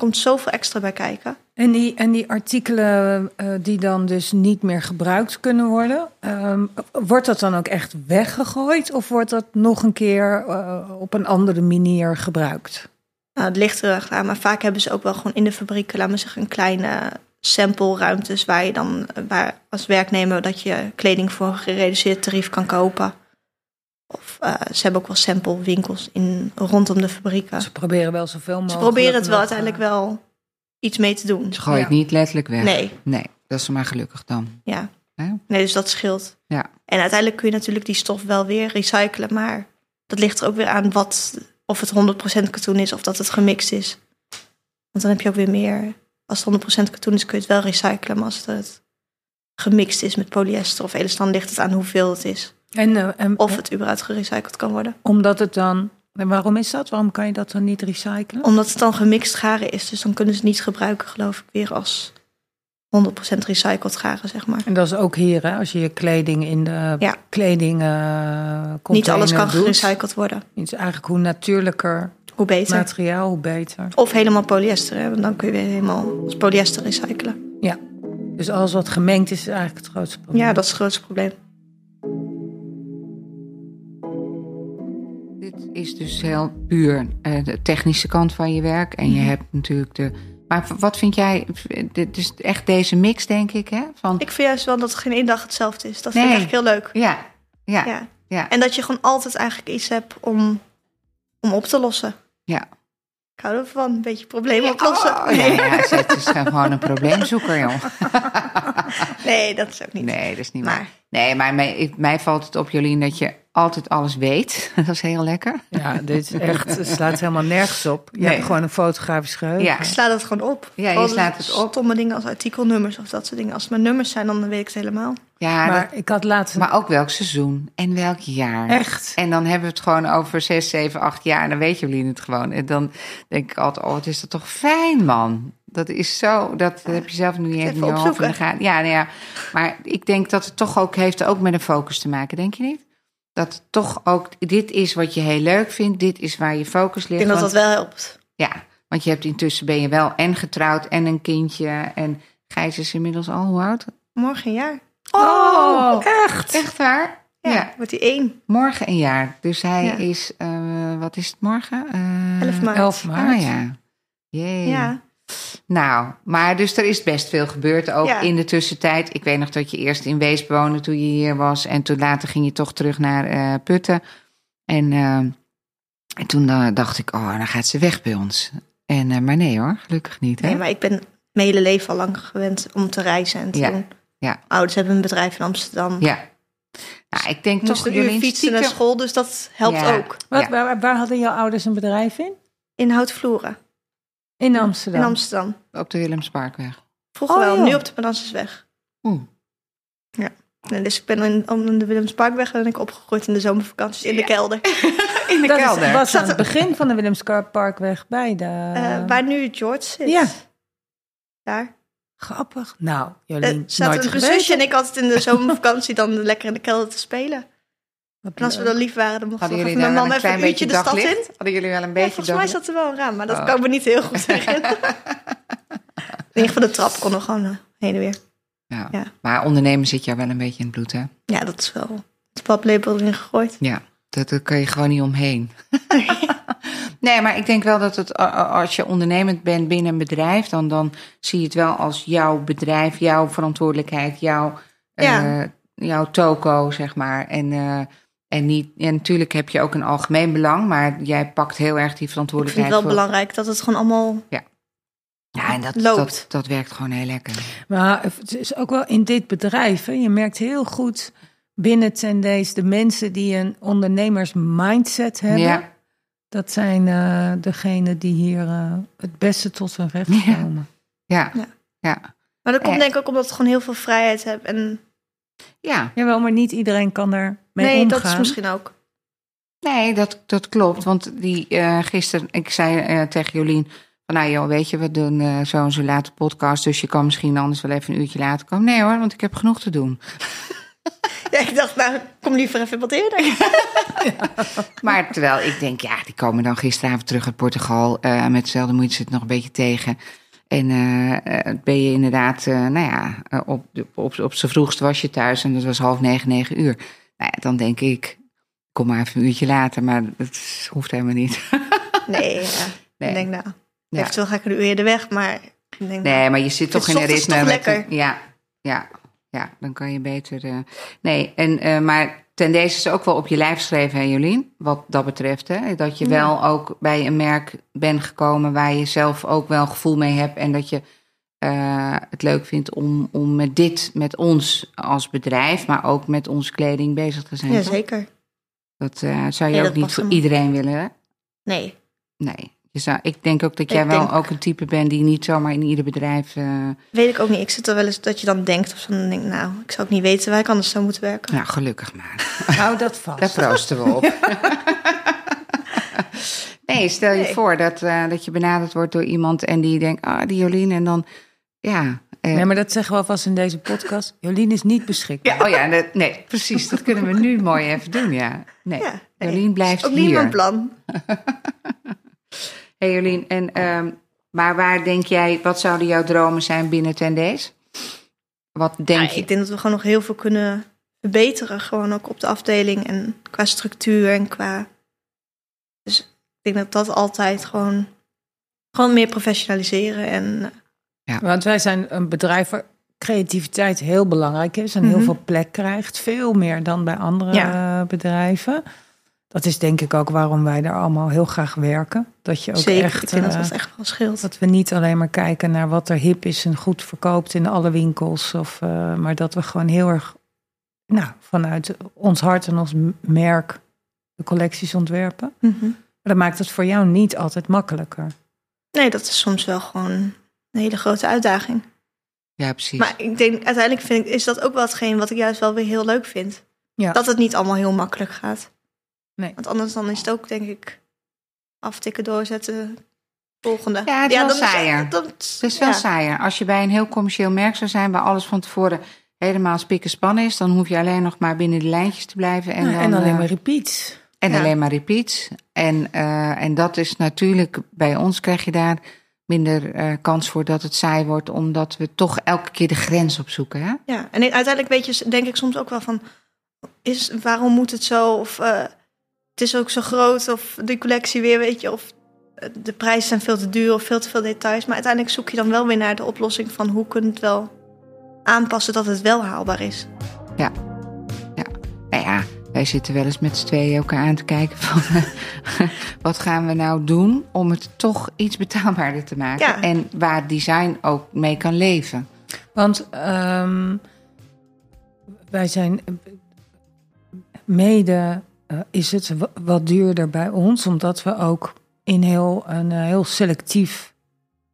[SPEAKER 2] komt zoveel extra bij kijken.
[SPEAKER 3] En die, en die artikelen eh, die dan dus niet meer gebruikt kunnen worden, ehm, wordt dat dan ook echt weggegooid of wordt dat nog een keer eh, op een andere manier gebruikt?
[SPEAKER 2] Nou, het ligt er echt aan, maar vaak hebben ze ook wel gewoon in de fabrieken, laten we zeggen, een kleine sample ruimtes waar je dan eh, waar als werknemer dat je kleding voor een gereduceerd tarief kan kopen. Of eh, ze hebben ook wel sample winkels in, rondom de fabrieken.
[SPEAKER 3] Ze proberen wel zoveel mogelijk.
[SPEAKER 2] Ze proberen het wel
[SPEAKER 3] nog, eh,
[SPEAKER 2] uiteindelijk wel iets mee te doen.
[SPEAKER 1] Ze gooien
[SPEAKER 3] Ja.
[SPEAKER 1] het niet letterlijk weg.
[SPEAKER 2] Nee,
[SPEAKER 1] Nee, dat is maar gelukkig dan.
[SPEAKER 2] ja.
[SPEAKER 1] Hè?
[SPEAKER 2] Nee, dus dat scheelt.
[SPEAKER 1] Ja.
[SPEAKER 2] En uiteindelijk kun je natuurlijk die stof wel weer recyclen, maar dat ligt er ook weer aan wat, of het 100% katoen is of dat het gemixt is. Want dan heb je ook weer meer. Als het 100% katoen is, kun je het wel recyclen, maar als het gemixt is met polyester of elastan, ligt het aan hoeveel het is.
[SPEAKER 3] En, eh, en,
[SPEAKER 2] Of het überhaupt gerecycled kan worden.
[SPEAKER 3] Omdat het dan. En waarom is dat? Waarom kan je dat dan niet recyclen?
[SPEAKER 2] Omdat het dan gemixt garen is, dus dan kunnen ze het niet gebruiken, geloof ik, weer als 100% recycled garen, zeg maar.
[SPEAKER 3] En dat is ook hier, hè? als je je kleding in de
[SPEAKER 2] Ja.
[SPEAKER 3] kleding. eh
[SPEAKER 2] Niet alles kan
[SPEAKER 3] doet.
[SPEAKER 2] gerecycled worden.
[SPEAKER 3] Het is eigenlijk hoe natuurlijker
[SPEAKER 2] Hoe beter.
[SPEAKER 3] materiaal, hoe beter.
[SPEAKER 2] Of helemaal polyester, hè? want dan kun je weer helemaal als polyester recyclen.
[SPEAKER 3] Ja. Dus alles wat gemengd is, is eigenlijk het grootste probleem.
[SPEAKER 2] Ja, dat is het grootste probleem.
[SPEAKER 1] Dit is dus heel puur eh, de technische kant van je werk. En je hebt natuurlijk de. Maar v- wat vind jij? v- Dit is echt deze mix, denk ik, hè? Van,
[SPEAKER 2] Ik vind juist wel dat geen één dag hetzelfde is. Dat
[SPEAKER 1] Nee.
[SPEAKER 2] vind ik eigenlijk heel leuk.
[SPEAKER 1] ja, ja, ja,
[SPEAKER 2] Ja.
[SPEAKER 1] ja,
[SPEAKER 2] En dat je gewoon altijd eigenlijk iets hebt om, om op te lossen.
[SPEAKER 1] ja.
[SPEAKER 2] Ik hou ervan, een beetje problemen oplossen.
[SPEAKER 1] Oh,
[SPEAKER 2] nee.
[SPEAKER 1] ja, ja, ze- het is gewoon een probleemzoeker, joh.
[SPEAKER 2] nee, dat is ook niet.
[SPEAKER 1] Nee, dat is niet waar.
[SPEAKER 2] Maar
[SPEAKER 1] Nee, maar mij, ik- mij valt het op, Jolien, dat je altijd alles weet. Dat is heel lekker.
[SPEAKER 3] Ja, dit is echt, het slaat helemaal nergens op. Je
[SPEAKER 1] Nee.
[SPEAKER 3] hebt gewoon een fotografisch geheugen.
[SPEAKER 1] Ja.
[SPEAKER 2] ik sla dat gewoon op.
[SPEAKER 1] Ja, je
[SPEAKER 2] Al die
[SPEAKER 1] slaat het op.
[SPEAKER 2] Stomme dingen als artikelnummers of dat soort dingen. Als het maar nummers zijn, dan weet ik het helemaal.
[SPEAKER 1] Ja,
[SPEAKER 3] Maar ik had laatst...
[SPEAKER 1] dat- maar ook welk seizoen en welk jaar.
[SPEAKER 3] Echt?
[SPEAKER 1] En dan hebben we het gewoon over zes, zeven, acht jaar. En dan weet jullie het gewoon. En dan denk ik altijd, oh, wat is dat toch fijn, man. Dat is zo, dat heb je zelf nu niet
[SPEAKER 2] even
[SPEAKER 1] even in je hoofd in de
[SPEAKER 2] opzoeken.
[SPEAKER 1] gaten. Ja, nou ja, maar ik denk dat het toch ook heeft ook met een focus te maken, denk je niet? Dat het toch ook, dit is wat je heel leuk vindt. Dit is waar je focus
[SPEAKER 2] Ik
[SPEAKER 1] ligt.
[SPEAKER 2] denk dat
[SPEAKER 1] want-
[SPEAKER 2] dat wel helpt.
[SPEAKER 1] Ja, want je hebt intussen ben je wel en getrouwd en een kindje. En Gijs is inmiddels al hoe oud?
[SPEAKER 2] Morgen een jaar.
[SPEAKER 3] Oh, echt?
[SPEAKER 1] Echt waar? Ja.
[SPEAKER 2] Ja, wordt die één.
[SPEAKER 1] Morgen een jaar. Dus hij
[SPEAKER 2] Ja.
[SPEAKER 1] is, eh, wat is het morgen? Eh,
[SPEAKER 2] 11 maart.
[SPEAKER 3] 11 maart.
[SPEAKER 1] Ah ja. Jee.
[SPEAKER 2] Ja.
[SPEAKER 1] Nou, maar dus er is best veel gebeurd ook
[SPEAKER 2] Ja.
[SPEAKER 1] in de tussentijd. Ik weet nog dat je eerst in Wees woonde toen je hier was. En toen later ging je toch terug naar eh, Putten. En, eh, en toen eh, dacht ik, oh, dan gaat ze weg bij ons. En, eh, maar nee hoor, gelukkig niet. Hè?
[SPEAKER 2] Nee, maar ik ben mijn hele leven al lang gewend om te reizen en te
[SPEAKER 1] Ja,
[SPEAKER 2] doen.
[SPEAKER 1] ja.
[SPEAKER 2] Ouders hebben een bedrijf in Amsterdam.
[SPEAKER 1] Ja. Nou, ik denk
[SPEAKER 2] Moest
[SPEAKER 1] toch
[SPEAKER 2] een uur
[SPEAKER 1] Jolien,
[SPEAKER 2] fietsen naar
[SPEAKER 1] stiekem-
[SPEAKER 2] school, dus dat helpt
[SPEAKER 1] Ja.
[SPEAKER 2] ook.
[SPEAKER 3] Wat,
[SPEAKER 1] Ja.
[SPEAKER 3] waar, waar hadden jouw ouders een bedrijf in?
[SPEAKER 2] In Houtvloeren,
[SPEAKER 3] In Amsterdam.
[SPEAKER 2] in Amsterdam.
[SPEAKER 1] op de Willemsparkweg.
[SPEAKER 2] Vroeger
[SPEAKER 3] Oh,
[SPEAKER 2] wel,
[SPEAKER 3] joh. Hmm.
[SPEAKER 2] nu op de Pendansesweg.
[SPEAKER 1] Oeh.
[SPEAKER 2] En dus ik ben in, om de Willemsparkweg ben ik opgegroeid in de zomervakanties in de kelder.
[SPEAKER 1] In de
[SPEAKER 3] dat is-
[SPEAKER 1] kelder.
[SPEAKER 3] was aan het begin van de Willemsparkweg bij de...
[SPEAKER 2] Eh, waar nu George zit.
[SPEAKER 3] Ja.
[SPEAKER 2] Daar.
[SPEAKER 3] Grappig. Nou,
[SPEAKER 2] Eh,
[SPEAKER 3] Jolien, nooit
[SPEAKER 2] zaten mijn
[SPEAKER 3] geweten.
[SPEAKER 2] zusje en ik altijd in de zomervakantie dan lekker in de kelder te spelen.
[SPEAKER 3] Wat
[SPEAKER 2] En als we dan lief waren, dan mochten we
[SPEAKER 1] Hadden
[SPEAKER 2] nog
[SPEAKER 1] jullie daar wel
[SPEAKER 2] even met mam
[SPEAKER 1] een
[SPEAKER 2] even
[SPEAKER 1] klein
[SPEAKER 2] een
[SPEAKER 1] beetje
[SPEAKER 2] uurtje de stad in.
[SPEAKER 1] daglicht? Hadden jullie wel een
[SPEAKER 2] Ja,
[SPEAKER 1] beetje
[SPEAKER 2] volgens mij
[SPEAKER 1] daglicht?
[SPEAKER 2] zat er wel een raam, maar dat
[SPEAKER 1] Oh.
[SPEAKER 2] kan ik me niet heel goed herinneren. in ieder geval de trap kon er gewoon eh, heen en weer.
[SPEAKER 1] Ja.
[SPEAKER 2] Ja.
[SPEAKER 1] Maar ondernemen zit jou wel een beetje in het bloed, hè?
[SPEAKER 2] Ja, dat is wel het paplepel erin gegooid.
[SPEAKER 1] Ja, dat- daar kan je gewoon niet omheen. nee, maar ik denk wel dat het, a- a- als je ondernemend bent binnen een bedrijf, dan, dan zie je het wel als jouw bedrijf, jouw verantwoordelijkheid, jouw,
[SPEAKER 2] Ja.
[SPEAKER 1] eh, jouw toko, zeg maar. En, eh, en, niet, en natuurlijk heb je ook een algemeen belang, maar jij pakt heel erg die
[SPEAKER 2] Ik vind
[SPEAKER 1] verantwoordelijkheid.
[SPEAKER 2] het wel
[SPEAKER 1] voor-
[SPEAKER 2] belangrijk dat het gewoon allemaal...
[SPEAKER 1] Ja, en dat,
[SPEAKER 2] loopt.
[SPEAKER 1] dat, dat werkt gewoon heel lekker.
[SPEAKER 3] Maar het is ook wel in dit bedrijf. Hè, je merkt heel goed binnen Tendays de mensen die een ondernemers mindset hebben.
[SPEAKER 1] Ja.
[SPEAKER 3] Dat zijn eh degenen die hier eh, het beste tot hun recht
[SPEAKER 1] Ja.
[SPEAKER 3] komen.
[SPEAKER 1] Ja,
[SPEAKER 2] Ja.
[SPEAKER 1] ja.
[SPEAKER 2] Maar dat komt
[SPEAKER 1] Ja.
[SPEAKER 2] denk ik ook omdat ik gewoon heel veel vrijheid heb. En
[SPEAKER 1] ja.
[SPEAKER 3] Jawel, maar niet iedereen kan daar mee
[SPEAKER 2] nee,
[SPEAKER 3] omgaan.
[SPEAKER 2] dat is misschien ook.
[SPEAKER 1] Nee, dat, dat klopt. Want die, eh, gisteren, ik zei eh, tegen Jolien... Van, nou joh, weet je, we doen eh, zo en zo laat de podcast... dus je kan misschien anders wel even een uurtje later komen. Nee hoor, want ik heb genoeg te doen.
[SPEAKER 2] Ja, ik dacht, nou, kom liever even wat eerder.
[SPEAKER 1] Maar terwijl ik denk, ja, die komen dan gisteravond terug uit Portugal. eh, met dezelfde moeite zit het nog een beetje tegen. En eh, eh, ben je inderdaad, eh, nou ja, eh, op, de- op, op z'n vroegst was je thuis en dat was half negen, negen uur. Nou ja, dan denk ik, kom maar even een uurtje later, maar dat is- hoeft helemaal niet.
[SPEAKER 2] Nee, ja.
[SPEAKER 1] Nee.
[SPEAKER 2] ik denk nou,
[SPEAKER 1] Ja.
[SPEAKER 2] eventueel ga ik een uur eerder weg, maar ik denk,
[SPEAKER 1] Nee, maar je zit toch
[SPEAKER 2] Het
[SPEAKER 1] in een
[SPEAKER 2] ochtends
[SPEAKER 1] ritme.
[SPEAKER 2] toch
[SPEAKER 1] met een-
[SPEAKER 2] lekker.
[SPEAKER 1] ja, ja, ja, dan kan je beter. eh, nee, en, eh, maar ten deze is ook wel op je lijf geschreven, hè, Jolien? Wat dat betreft, hè? Dat je wel ook bij een merk bent gekomen waar je zelf ook wel gevoel mee hebt. En dat je eh, het leuk vindt om, om met dit, met ons als bedrijf, maar ook met onze kleding bezig te zijn.
[SPEAKER 2] ja,
[SPEAKER 1] toch?
[SPEAKER 2] zeker.
[SPEAKER 1] Dat eh, zou je
[SPEAKER 2] Nee,
[SPEAKER 1] ook
[SPEAKER 2] dat
[SPEAKER 1] niet
[SPEAKER 2] past
[SPEAKER 1] voor
[SPEAKER 2] helemaal.
[SPEAKER 1] iedereen willen, hè?
[SPEAKER 2] Nee,
[SPEAKER 1] Nee. Je zou, ik denk ook dat jij wel
[SPEAKER 2] denk-
[SPEAKER 1] ook een type bent die niet zomaar in ieder bedrijf. eh,
[SPEAKER 2] weet ik ook niet. Ik zit er wel eens dat je dan denkt of zo, dan denk ik, nou, ik zou ook niet weten waar ik anders zou moeten werken.
[SPEAKER 1] Nou, gelukkig maar.
[SPEAKER 3] Hou Nou, dat vast.
[SPEAKER 1] Daar proosten we op. nee, stel je
[SPEAKER 2] Nee.
[SPEAKER 1] voor dat, eh, dat je benaderd wordt door iemand en die denkt, ah, die Jolien. En dan, ja. eh,
[SPEAKER 3] Nee, maar dat zeggen we alvast in deze podcast. Jolien is niet beschikbaar.
[SPEAKER 1] ja, oh ja, dat- nee, precies. Dat kunnen we nu mooi even doen, ja. Nee,
[SPEAKER 2] Ja, nee.
[SPEAKER 1] Jolien blijft
[SPEAKER 2] Ook niet
[SPEAKER 1] hier.
[SPEAKER 2] mijn plan.
[SPEAKER 1] hey Jolien, en, ehm, maar waar denk jij, wat zouden jouw dromen zijn binnen Tendees? Wat denk
[SPEAKER 2] Ja,
[SPEAKER 1] je?
[SPEAKER 2] ik denk dat we gewoon nog heel veel kunnen verbeteren. Gewoon ook op de afdeling en qua structuur en qua... Dus ik denk dat dat altijd gewoon... Gewoon meer professionaliseren en... eh,
[SPEAKER 3] Want wij zijn een bedrijf waar creativiteit heel belangrijk is en heel
[SPEAKER 2] Mhm.
[SPEAKER 3] veel plek krijgt. Veel meer dan bij andere
[SPEAKER 2] Ja.
[SPEAKER 3] eh, bedrijven. Dat is denk ik ook waarom wij daar allemaal heel graag werken. Dat je ook
[SPEAKER 2] zeker,
[SPEAKER 3] echt.
[SPEAKER 2] ik vind dat
[SPEAKER 3] eh,
[SPEAKER 2] dat echt wel scheelt.
[SPEAKER 3] dat we niet alleen maar kijken naar wat er hip is en goed verkoopt in alle winkels. Of, eh, maar dat we gewoon heel erg nou, vanuit ons hart en ons m- merk de collecties ontwerpen.
[SPEAKER 2] Mhm.
[SPEAKER 3] Maar dat maakt het voor jou niet altijd makkelijker.
[SPEAKER 2] Nee, dat is soms wel gewoon een hele grote uitdaging.
[SPEAKER 1] Ja, precies.
[SPEAKER 2] Maar ik denk, uiteindelijk vind ik, is dat ook wel hetgeen wat ik juist wel weer heel leuk vind.
[SPEAKER 3] Ja.
[SPEAKER 2] Dat het niet allemaal heel makkelijk gaat.
[SPEAKER 3] Nee.
[SPEAKER 2] Want anders dan is het ook, denk ik, aftikken, doorzetten, volgende.
[SPEAKER 1] Ja, het is wel
[SPEAKER 2] dan
[SPEAKER 1] saaier.
[SPEAKER 2] dat
[SPEAKER 1] Het is wel
[SPEAKER 2] ja.
[SPEAKER 1] saaier. Als je bij een heel commercieel merk zou zijn... waar alles van tevoren helemaal spik en span is... dan hoef je alleen nog maar binnen de lijntjes te blijven. En,
[SPEAKER 3] Nou,
[SPEAKER 1] dan,
[SPEAKER 3] en alleen
[SPEAKER 1] eh,
[SPEAKER 3] maar repeats.
[SPEAKER 1] en
[SPEAKER 2] ja.
[SPEAKER 1] alleen maar repeats. En, eh, en dat is natuurlijk... bij ons krijg je daar minder eh, kans voor dat het saai wordt... omdat we toch elke keer de grens opzoeken. Hè?
[SPEAKER 2] Ja, en uiteindelijk weet je, denk ik soms ook wel van, is, waarom moet het zo? Of eh, het is ook zo groot, of die collectie weer, weet je, of eh, de prijzen zijn veel te duur, of veel te veel details. Maar uiteindelijk zoek je dan wel weer naar de oplossing van hoe kun je het wel aanpassen dat het wel haalbaar is.
[SPEAKER 1] Ja. ja. Nou ja, wij zitten wel eens met z'n tweeën elkaar aan te kijken van... wat gaan we nou doen om het toch iets betaalbaarder te maken?
[SPEAKER 2] Ja.
[SPEAKER 1] En waar design ook mee kan leven.
[SPEAKER 3] Want ehm, wij zijn mede eh, is het wa- wat duurder bij ons, omdat we ook in heel een eh, heel selectief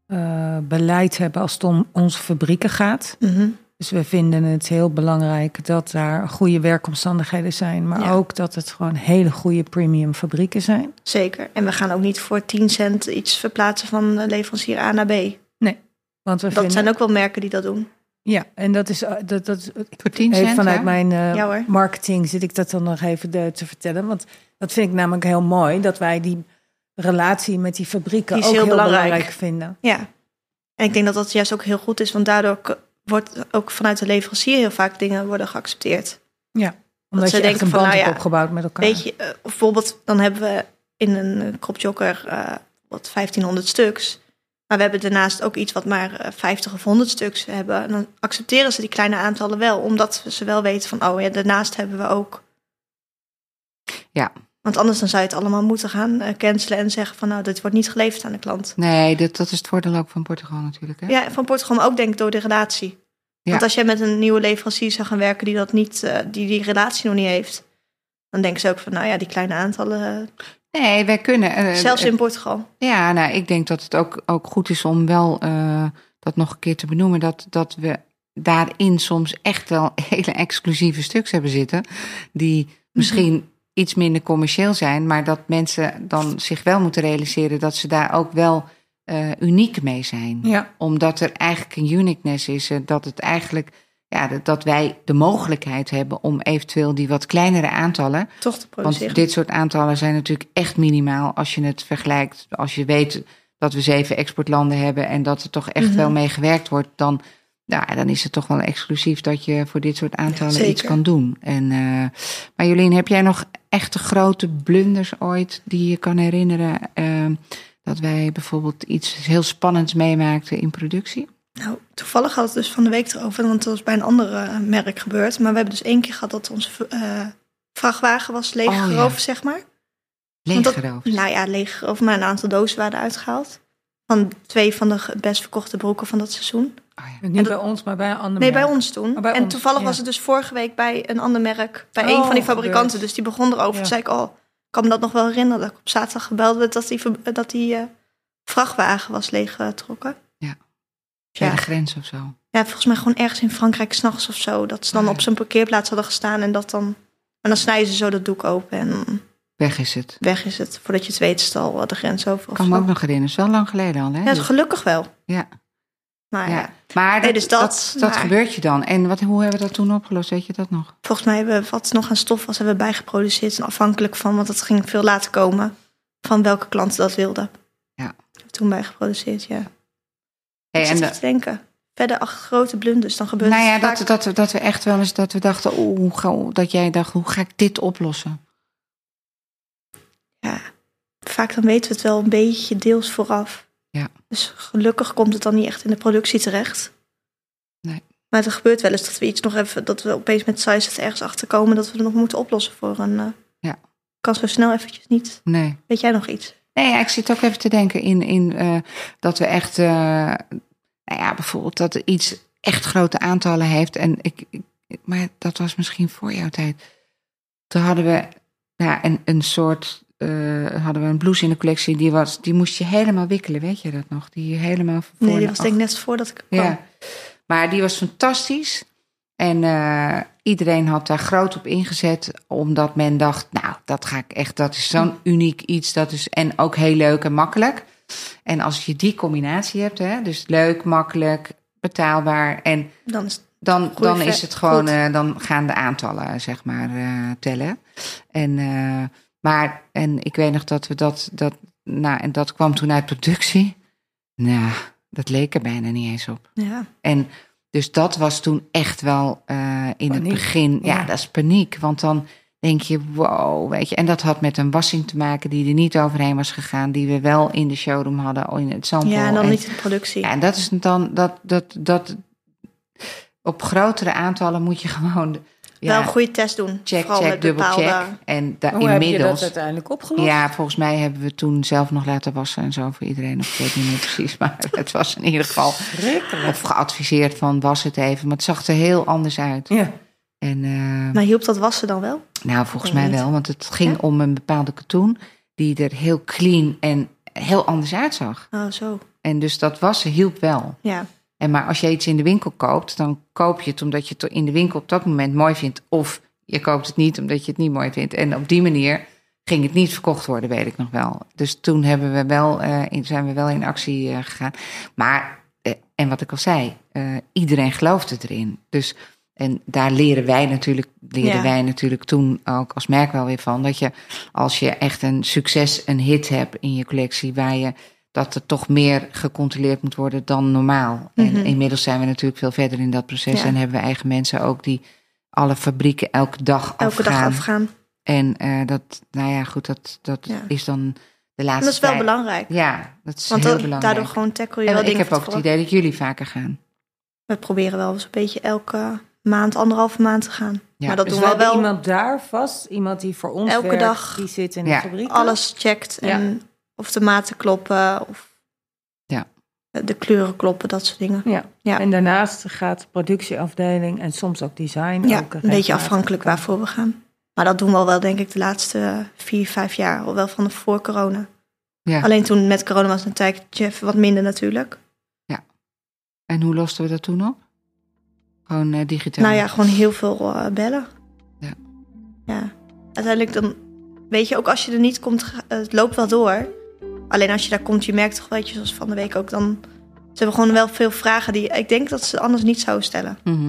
[SPEAKER 3] eh, beleid hebben als het om onze fabrieken gaat.
[SPEAKER 2] Mhm.
[SPEAKER 3] Dus we vinden het heel belangrijk dat daar goede werkomstandigheden zijn, maar
[SPEAKER 2] Ja.
[SPEAKER 3] ook dat het gewoon hele goede premium fabrieken zijn.
[SPEAKER 2] Zeker. En we gaan ook niet voor 10 cent iets verplaatsen van eh, leverancier A naar B.
[SPEAKER 3] Want we
[SPEAKER 2] Dat
[SPEAKER 3] vinden,
[SPEAKER 2] zijn ook wel merken die dat doen.
[SPEAKER 3] ja, en dat is eh, dat, dat is
[SPEAKER 1] Voor 10
[SPEAKER 3] Even
[SPEAKER 1] cent,
[SPEAKER 3] vanuit
[SPEAKER 1] hè?
[SPEAKER 3] mijn eh,
[SPEAKER 2] Ja, hoor.
[SPEAKER 3] marketing zit ik dat dan nog even eh, te vertellen. Want dat vind ik namelijk heel mooi. Dat wij die relatie met die fabrieken
[SPEAKER 2] Die is
[SPEAKER 3] ook heel,
[SPEAKER 2] heel
[SPEAKER 3] belangrijk.
[SPEAKER 2] belangrijk.
[SPEAKER 3] vinden.
[SPEAKER 2] Ja. En ik denk dat dat juist ook heel goed is, want daardoor k- wordt ook vanuit de leverancier heel vaak dingen worden geaccepteerd.
[SPEAKER 3] Omdat
[SPEAKER 2] ze
[SPEAKER 3] je echt
[SPEAKER 2] denken
[SPEAKER 3] een
[SPEAKER 2] van,
[SPEAKER 3] band
[SPEAKER 2] nou
[SPEAKER 3] hebt
[SPEAKER 2] ja,
[SPEAKER 3] opgebouwd met elkaar.
[SPEAKER 2] Weet je, eh, of bijvoorbeeld, dan hebben we in een kropjokker eh wat 1500 stuks. Maar we hebben daarnaast ook iets wat maar eh, 50 of 100 stuks hebben. En dan accepteren ze die kleine aantallen wel, omdat ze wel weten van, oh ja, daarnaast hebben we ook.
[SPEAKER 1] Ja.
[SPEAKER 2] Want anders dan zou je het allemaal moeten gaan eh, cancelen en zeggen van, nou, dit wordt niet geleverd aan de klant.
[SPEAKER 1] Nee, dat, dat is het voordeel ook van Portugal natuurlijk. Hè?
[SPEAKER 2] Ja, van Portugal, maar ook denk ik door de relatie.
[SPEAKER 1] Ja.
[SPEAKER 2] Want als jij met een nieuwe leverancier zou gaan werken die, dat niet, eh, die die relatie nog niet heeft, dan denken ze ook van, nou ja, die kleine aantallen, eh,
[SPEAKER 1] Nee, wij kunnen. eh,
[SPEAKER 2] zelfs
[SPEAKER 1] eh,
[SPEAKER 2] in Portugal.
[SPEAKER 1] ja, nou, ik denk dat het ook, ook goed is om wel eh, dat nog een keer te benoemen. Dat, dat we daarin soms echt wel hele exclusieve stuks hebben zitten. Die misschien iets minder commercieel zijn, maar dat mensen dan zich wel moeten realiseren dat ze daar ook wel eh, uniek mee zijn.
[SPEAKER 3] Ja.
[SPEAKER 1] Omdat er eigenlijk een uniqueness is, eh, dat het eigenlijk. Ja, dat- dat wij de mogelijkheid hebben om eventueel die wat kleinere aantallen.
[SPEAKER 2] toch te produceren.
[SPEAKER 1] Want dit soort aantallen zijn natuurlijk echt minimaal als je het vergelijkt. Als je weet dat we zeven exportlanden hebben en dat er toch echt
[SPEAKER 2] Mhm.
[SPEAKER 1] wel mee gewerkt wordt, dan, nou, ja, dan is het toch wel exclusief dat je voor dit soort aantallen
[SPEAKER 2] zeker.
[SPEAKER 1] iets kan doen. En, eh, maar Jolien, heb jij nog echte grote blunders ooit die je kan herinneren? eh, dat wij bijvoorbeeld iets heel spannends meemaakten in productie?
[SPEAKER 2] Nou, toevallig had het dus van de week erover, want dat was bij een ander eh, merk gebeurd. Maar we hebben dus één keer gehad dat onze eh, vrachtwagen was leeggeroofd,
[SPEAKER 1] Oh, ja.
[SPEAKER 2] zeg maar. Want dat-
[SPEAKER 1] Leeggeroofd.
[SPEAKER 2] Nou ja, leeggeroofd, maar een aantal dozen waren uitgehaald. Van twee van de ge- best verkochte broeken van dat seizoen.
[SPEAKER 1] Oh ja.
[SPEAKER 3] Niet
[SPEAKER 2] En
[SPEAKER 3] bij ons, maar bij een ander
[SPEAKER 2] Nee,
[SPEAKER 3] merk.
[SPEAKER 2] bij ons toen.
[SPEAKER 3] Oh, bij
[SPEAKER 2] en
[SPEAKER 3] ons,
[SPEAKER 2] toevallig
[SPEAKER 3] ja.
[SPEAKER 2] was het dus vorige week bij een ander merk, bij
[SPEAKER 3] Oh,
[SPEAKER 2] een van die
[SPEAKER 3] gebeurd.
[SPEAKER 2] fabrikanten. Dus die begon erover.
[SPEAKER 3] Ja.
[SPEAKER 2] Toen zei ik, oh, ik kan me dat nog wel herinneren. Dat ik op zaterdag gebeld werd dat die, ver- dat die eh, vrachtwagen was leeggetrokken.
[SPEAKER 1] Bij
[SPEAKER 2] ja.
[SPEAKER 1] de grens of zo.
[SPEAKER 2] Ja, volgens mij gewoon ergens in Frankrijk s'nachts of zo. Dat ze dan
[SPEAKER 3] Oh,
[SPEAKER 1] Ah, ja.
[SPEAKER 2] op zo'n parkeerplaats hadden gestaan en dat dan... En dan snijden ze zo dat doek open en
[SPEAKER 1] Weg is het.
[SPEAKER 2] weg is het. Voordat je het weet is het al de grens over. Of
[SPEAKER 1] Kan me
[SPEAKER 2] zo.
[SPEAKER 1] ook nog herinneren. is wel lang geleden al, hè?
[SPEAKER 2] Ja,
[SPEAKER 1] Dus-
[SPEAKER 2] gelukkig wel.
[SPEAKER 1] ja.
[SPEAKER 2] Maar Ah, ja.
[SPEAKER 1] Ja. Maar
[SPEAKER 2] Nee,
[SPEAKER 1] dat,
[SPEAKER 2] dus
[SPEAKER 1] dat,
[SPEAKER 2] dat,
[SPEAKER 1] dat,
[SPEAKER 2] maar-
[SPEAKER 1] gebeurt je dan. En wat, hoe hebben we dat toen opgelost? Weet je dat nog?
[SPEAKER 2] volgens mij hebben we wat nog aan stof was, hebben we bijgeproduceerd. En afhankelijk van, want dat ging veel later komen, van welke klanten dat wilden.
[SPEAKER 1] Ja.
[SPEAKER 2] Dat hebben we toen bijgeproduceerd, ja.
[SPEAKER 1] Hey, en
[SPEAKER 2] ik zit
[SPEAKER 1] de-
[SPEAKER 2] even te denken. Verder acht grote blunders, dan gebeurt
[SPEAKER 1] nou ja,
[SPEAKER 2] het vaak.
[SPEAKER 1] dat, dat, dat we echt wel eens dat we dachten, oeh, hoe ga- dat jij dacht, hoe ga ik dit oplossen?
[SPEAKER 2] ja, vaak dan weten we het wel een beetje deels vooraf.
[SPEAKER 1] Ja.
[SPEAKER 2] Dus gelukkig komt het dan niet echt in de productie terecht.
[SPEAKER 1] Nee.
[SPEAKER 2] Maar het gebeurt wel eens dat we iets nog even, dat we opeens met size het ergens achter komen dat we het nog moeten oplossen voor een. eh,
[SPEAKER 1] Ja.
[SPEAKER 2] Kan zo snel eventjes niet.
[SPEAKER 1] Nee.
[SPEAKER 2] Weet jij nog iets?
[SPEAKER 1] Nee, ja, ik zit ook even te denken in, in eh, dat we echt, eh, nou ja, bijvoorbeeld dat er iets echt grote aantallen heeft. En ik, ik- maar dat was misschien voor jouw tijd. Toen hadden we ja, een, een soort, eh, hadden we een blouse in de collectie, die, was, die moest je helemaal wikkelen, weet je dat nog? Die helemaal voor
[SPEAKER 2] Nee,
[SPEAKER 1] en
[SPEAKER 2] die was
[SPEAKER 1] achter-
[SPEAKER 2] denk ik net voordat ik kwam.
[SPEAKER 1] Ja. Maar die was fantastisch. En eh, iedereen had daar groot op ingezet. Omdat men dacht, nou, dat ga ik echt, dat is zo'n uniek iets. Dat is, en ook heel leuk en makkelijk. En als je die combinatie hebt, hè, dus leuk, makkelijk, betaalbaar. En
[SPEAKER 2] Dan is
[SPEAKER 1] dan,
[SPEAKER 2] Goeie
[SPEAKER 1] dan
[SPEAKER 2] ve-
[SPEAKER 1] is het gewoon,
[SPEAKER 2] goed.
[SPEAKER 1] eh, dan gaan de aantallen, zeg maar, eh, tellen. En, eh, maar, en ik weet nog dat we dat, dat, nou, en dat kwam toen uit productie. Nou, dat leek er bijna niet eens op.
[SPEAKER 2] ja.
[SPEAKER 1] En dus dat was toen echt wel eh, in
[SPEAKER 3] Paniek,
[SPEAKER 1] het begin. Ja,
[SPEAKER 3] ja.
[SPEAKER 1] dat is paniek. Want dan denk je, wow, weet je. En dat had met een wassing te maken die er niet overheen was gegaan. Die we wel in de showroom hadden, in het sample.
[SPEAKER 2] ja, en dan
[SPEAKER 1] En-
[SPEAKER 2] niet in de productie.
[SPEAKER 1] ja, en dat is dan, dat, dat, dat, op grotere aantallen moet je gewoon... Ja,
[SPEAKER 2] Wel een goede test doen.
[SPEAKER 1] check,
[SPEAKER 2] Vooral
[SPEAKER 1] check,
[SPEAKER 2] met
[SPEAKER 1] dubbel
[SPEAKER 2] bepaalde.
[SPEAKER 1] check. En daar
[SPEAKER 3] Hoe heb je dat
[SPEAKER 1] inmiddels...
[SPEAKER 3] uiteindelijk opgelost?
[SPEAKER 1] Ja, volgens mij hebben we toen zelf nog laten wassen en zo voor iedereen. Of ik weet niet meer precies, maar het was in ieder geval...
[SPEAKER 3] Schrikkelijk.
[SPEAKER 1] Of geadviseerd van was het even, maar het zag er heel anders uit.
[SPEAKER 3] Ja.
[SPEAKER 1] En eh,
[SPEAKER 2] Maar hielp dat wassen dan wel?
[SPEAKER 1] nou, volgens
[SPEAKER 2] Ik weet
[SPEAKER 1] mij
[SPEAKER 2] niet.
[SPEAKER 1] wel, want het ging om een bepaalde katoen die er heel clean en heel anders uitzag.
[SPEAKER 2] Oh, zo.
[SPEAKER 1] En dus dat wassen hielp wel.
[SPEAKER 2] Ja.
[SPEAKER 1] En maar als je iets in de winkel koopt, dan koop je het omdat je het in de winkel op dat moment mooi vindt. Of je koopt het niet omdat je het niet mooi vindt. En op die manier ging het niet verkocht worden, weet ik nog wel. Dus toen hebben we wel, eh, in, zijn we wel in actie eh, gegaan. Maar, eh, en wat ik al zei, eh, iedereen geloofde erin. Dus, en daar leren wij natuurlijk, leren
[SPEAKER 2] Ja.
[SPEAKER 1] wij natuurlijk toen ook als merk wel weer van. Dat je als je echt een succes, een hit hebt in je collectie, waar je dat er toch meer gecontroleerd moet worden dan normaal. En inmiddels zijn we natuurlijk veel verder in dat proces
[SPEAKER 2] Mhm. Ja.
[SPEAKER 1] en hebben we eigen mensen ook die alle fabrieken elke dag
[SPEAKER 2] Elke
[SPEAKER 1] afgaan.
[SPEAKER 2] dag afgaan.
[SPEAKER 1] En eh, dat, nou ja, goed, dat, dat
[SPEAKER 2] Ja.
[SPEAKER 1] is dan de
[SPEAKER 2] En
[SPEAKER 1] laatste.
[SPEAKER 2] dat is wel
[SPEAKER 1] tijd.
[SPEAKER 2] belangrijk.
[SPEAKER 1] Ja, dat is
[SPEAKER 2] Want
[SPEAKER 1] heel
[SPEAKER 2] dat-
[SPEAKER 1] belangrijk.
[SPEAKER 2] daardoor gewoon tackle je wel
[SPEAKER 1] en ik
[SPEAKER 2] dingen.
[SPEAKER 1] heb
[SPEAKER 2] van
[SPEAKER 1] ook het
[SPEAKER 2] tevoren.
[SPEAKER 1] idee dat jullie vaker gaan.
[SPEAKER 2] We proberen wel eens een beetje elke maand, anderhalve maand te gaan.
[SPEAKER 1] Ja.
[SPEAKER 2] Maar dat
[SPEAKER 3] Dus
[SPEAKER 2] doen
[SPEAKER 3] we
[SPEAKER 2] we
[SPEAKER 3] hebben
[SPEAKER 2] wel.
[SPEAKER 3] iemand daar vast, iemand die voor ons
[SPEAKER 2] Elke
[SPEAKER 3] werkt,
[SPEAKER 2] dag.
[SPEAKER 3] die zit in
[SPEAKER 1] Ja.
[SPEAKER 3] de fabriek.
[SPEAKER 2] Alles checkt. En of de maten kloppen. Of
[SPEAKER 1] Ja.
[SPEAKER 2] de kleuren kloppen, dat soort dingen.
[SPEAKER 3] Ja.
[SPEAKER 2] Ja.
[SPEAKER 3] En daarnaast gaat de productieafdeling en soms ook design.
[SPEAKER 2] Ja,
[SPEAKER 3] ook
[SPEAKER 2] een beetje
[SPEAKER 3] regelmatig.
[SPEAKER 2] afhankelijk waarvoor we gaan. Maar dat doen we al wel, denk ik, de laatste vier, vijf jaar. Al wel van de voor corona.
[SPEAKER 1] Ja.
[SPEAKER 2] Alleen toen met corona was het een tijdje even wat minder natuurlijk.
[SPEAKER 1] En hoe losten we dat toen op? Gewoon eh, digitaal.
[SPEAKER 2] Nou ja, gewoon heel veel eh, bellen.
[SPEAKER 1] Ja.
[SPEAKER 2] Ja. uiteindelijk dan weet je, ook als je er niet komt, ga- eh, het loopt wel door. Alleen als je daar komt, je merkt toch wel, weet je, zoals van de week ook, dan ze hebben gewoon wel veel vragen die ik denk dat ze anders niet zouden stellen.
[SPEAKER 1] Mhm.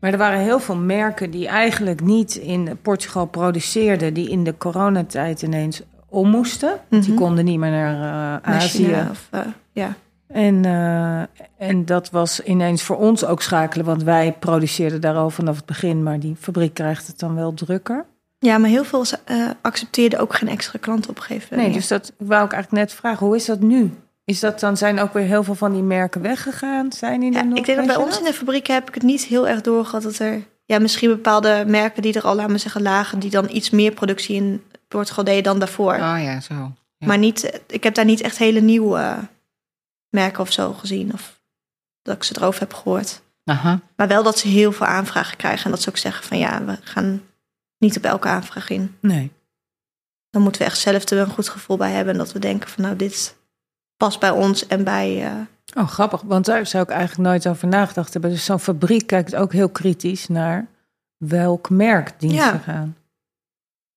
[SPEAKER 3] Maar er waren heel veel merken die eigenlijk niet in Portugal produceerden, die in de coronatijd ineens om moesten. Want die
[SPEAKER 2] Mhm.
[SPEAKER 3] konden niet meer naar eh,
[SPEAKER 2] Naar
[SPEAKER 3] Azië.
[SPEAKER 2] China Of, eh, ja.
[SPEAKER 3] En, eh, en dat was ineens voor ons ook schakelen, want wij produceerden daar al vanaf het begin, maar die fabriek krijgt het dan wel drukker.
[SPEAKER 2] ja, maar heel veel eh, accepteerden ook geen extra klanten op een gegeven moment
[SPEAKER 3] Nee,
[SPEAKER 2] meer.
[SPEAKER 3] dus dat wou ik eigenlijk net vragen. Hoe is dat nu? Is dat dan, zijn ook weer heel veel van die merken weggegaan? Zijn die
[SPEAKER 2] Ja,
[SPEAKER 3] er nog?
[SPEAKER 2] ik denk dat
[SPEAKER 3] weet
[SPEAKER 2] bij
[SPEAKER 3] je
[SPEAKER 2] ons in de fabriek heb ik het niet heel erg doorgehad dat er ja, misschien bepaalde merken die er al, laten we zeggen, lagen, die dan iets meer productie in Portugal deden dan daarvoor.
[SPEAKER 1] Oh ja, zo. ja.
[SPEAKER 2] Maar niet, ik heb daar niet echt hele nieuwe eh, merken of zo gezien. Of dat ik ze erover heb gehoord.
[SPEAKER 1] Aha.
[SPEAKER 2] Maar wel dat ze heel veel aanvragen krijgen. En dat ze ook zeggen van ja, we gaan niet op elke aanvraag in.
[SPEAKER 3] Nee.
[SPEAKER 2] Dan moeten we echt zelf er een goed gevoel bij hebben. En dat we denken van nou, dit past bij ons en bij... eh,
[SPEAKER 3] Oh, grappig, want daar zou ik eigenlijk nooit over nagedacht hebben. Dus zo'n fabriek kijkt ook heel kritisch naar welk merk dienst
[SPEAKER 2] Ja.
[SPEAKER 3] ze gaan.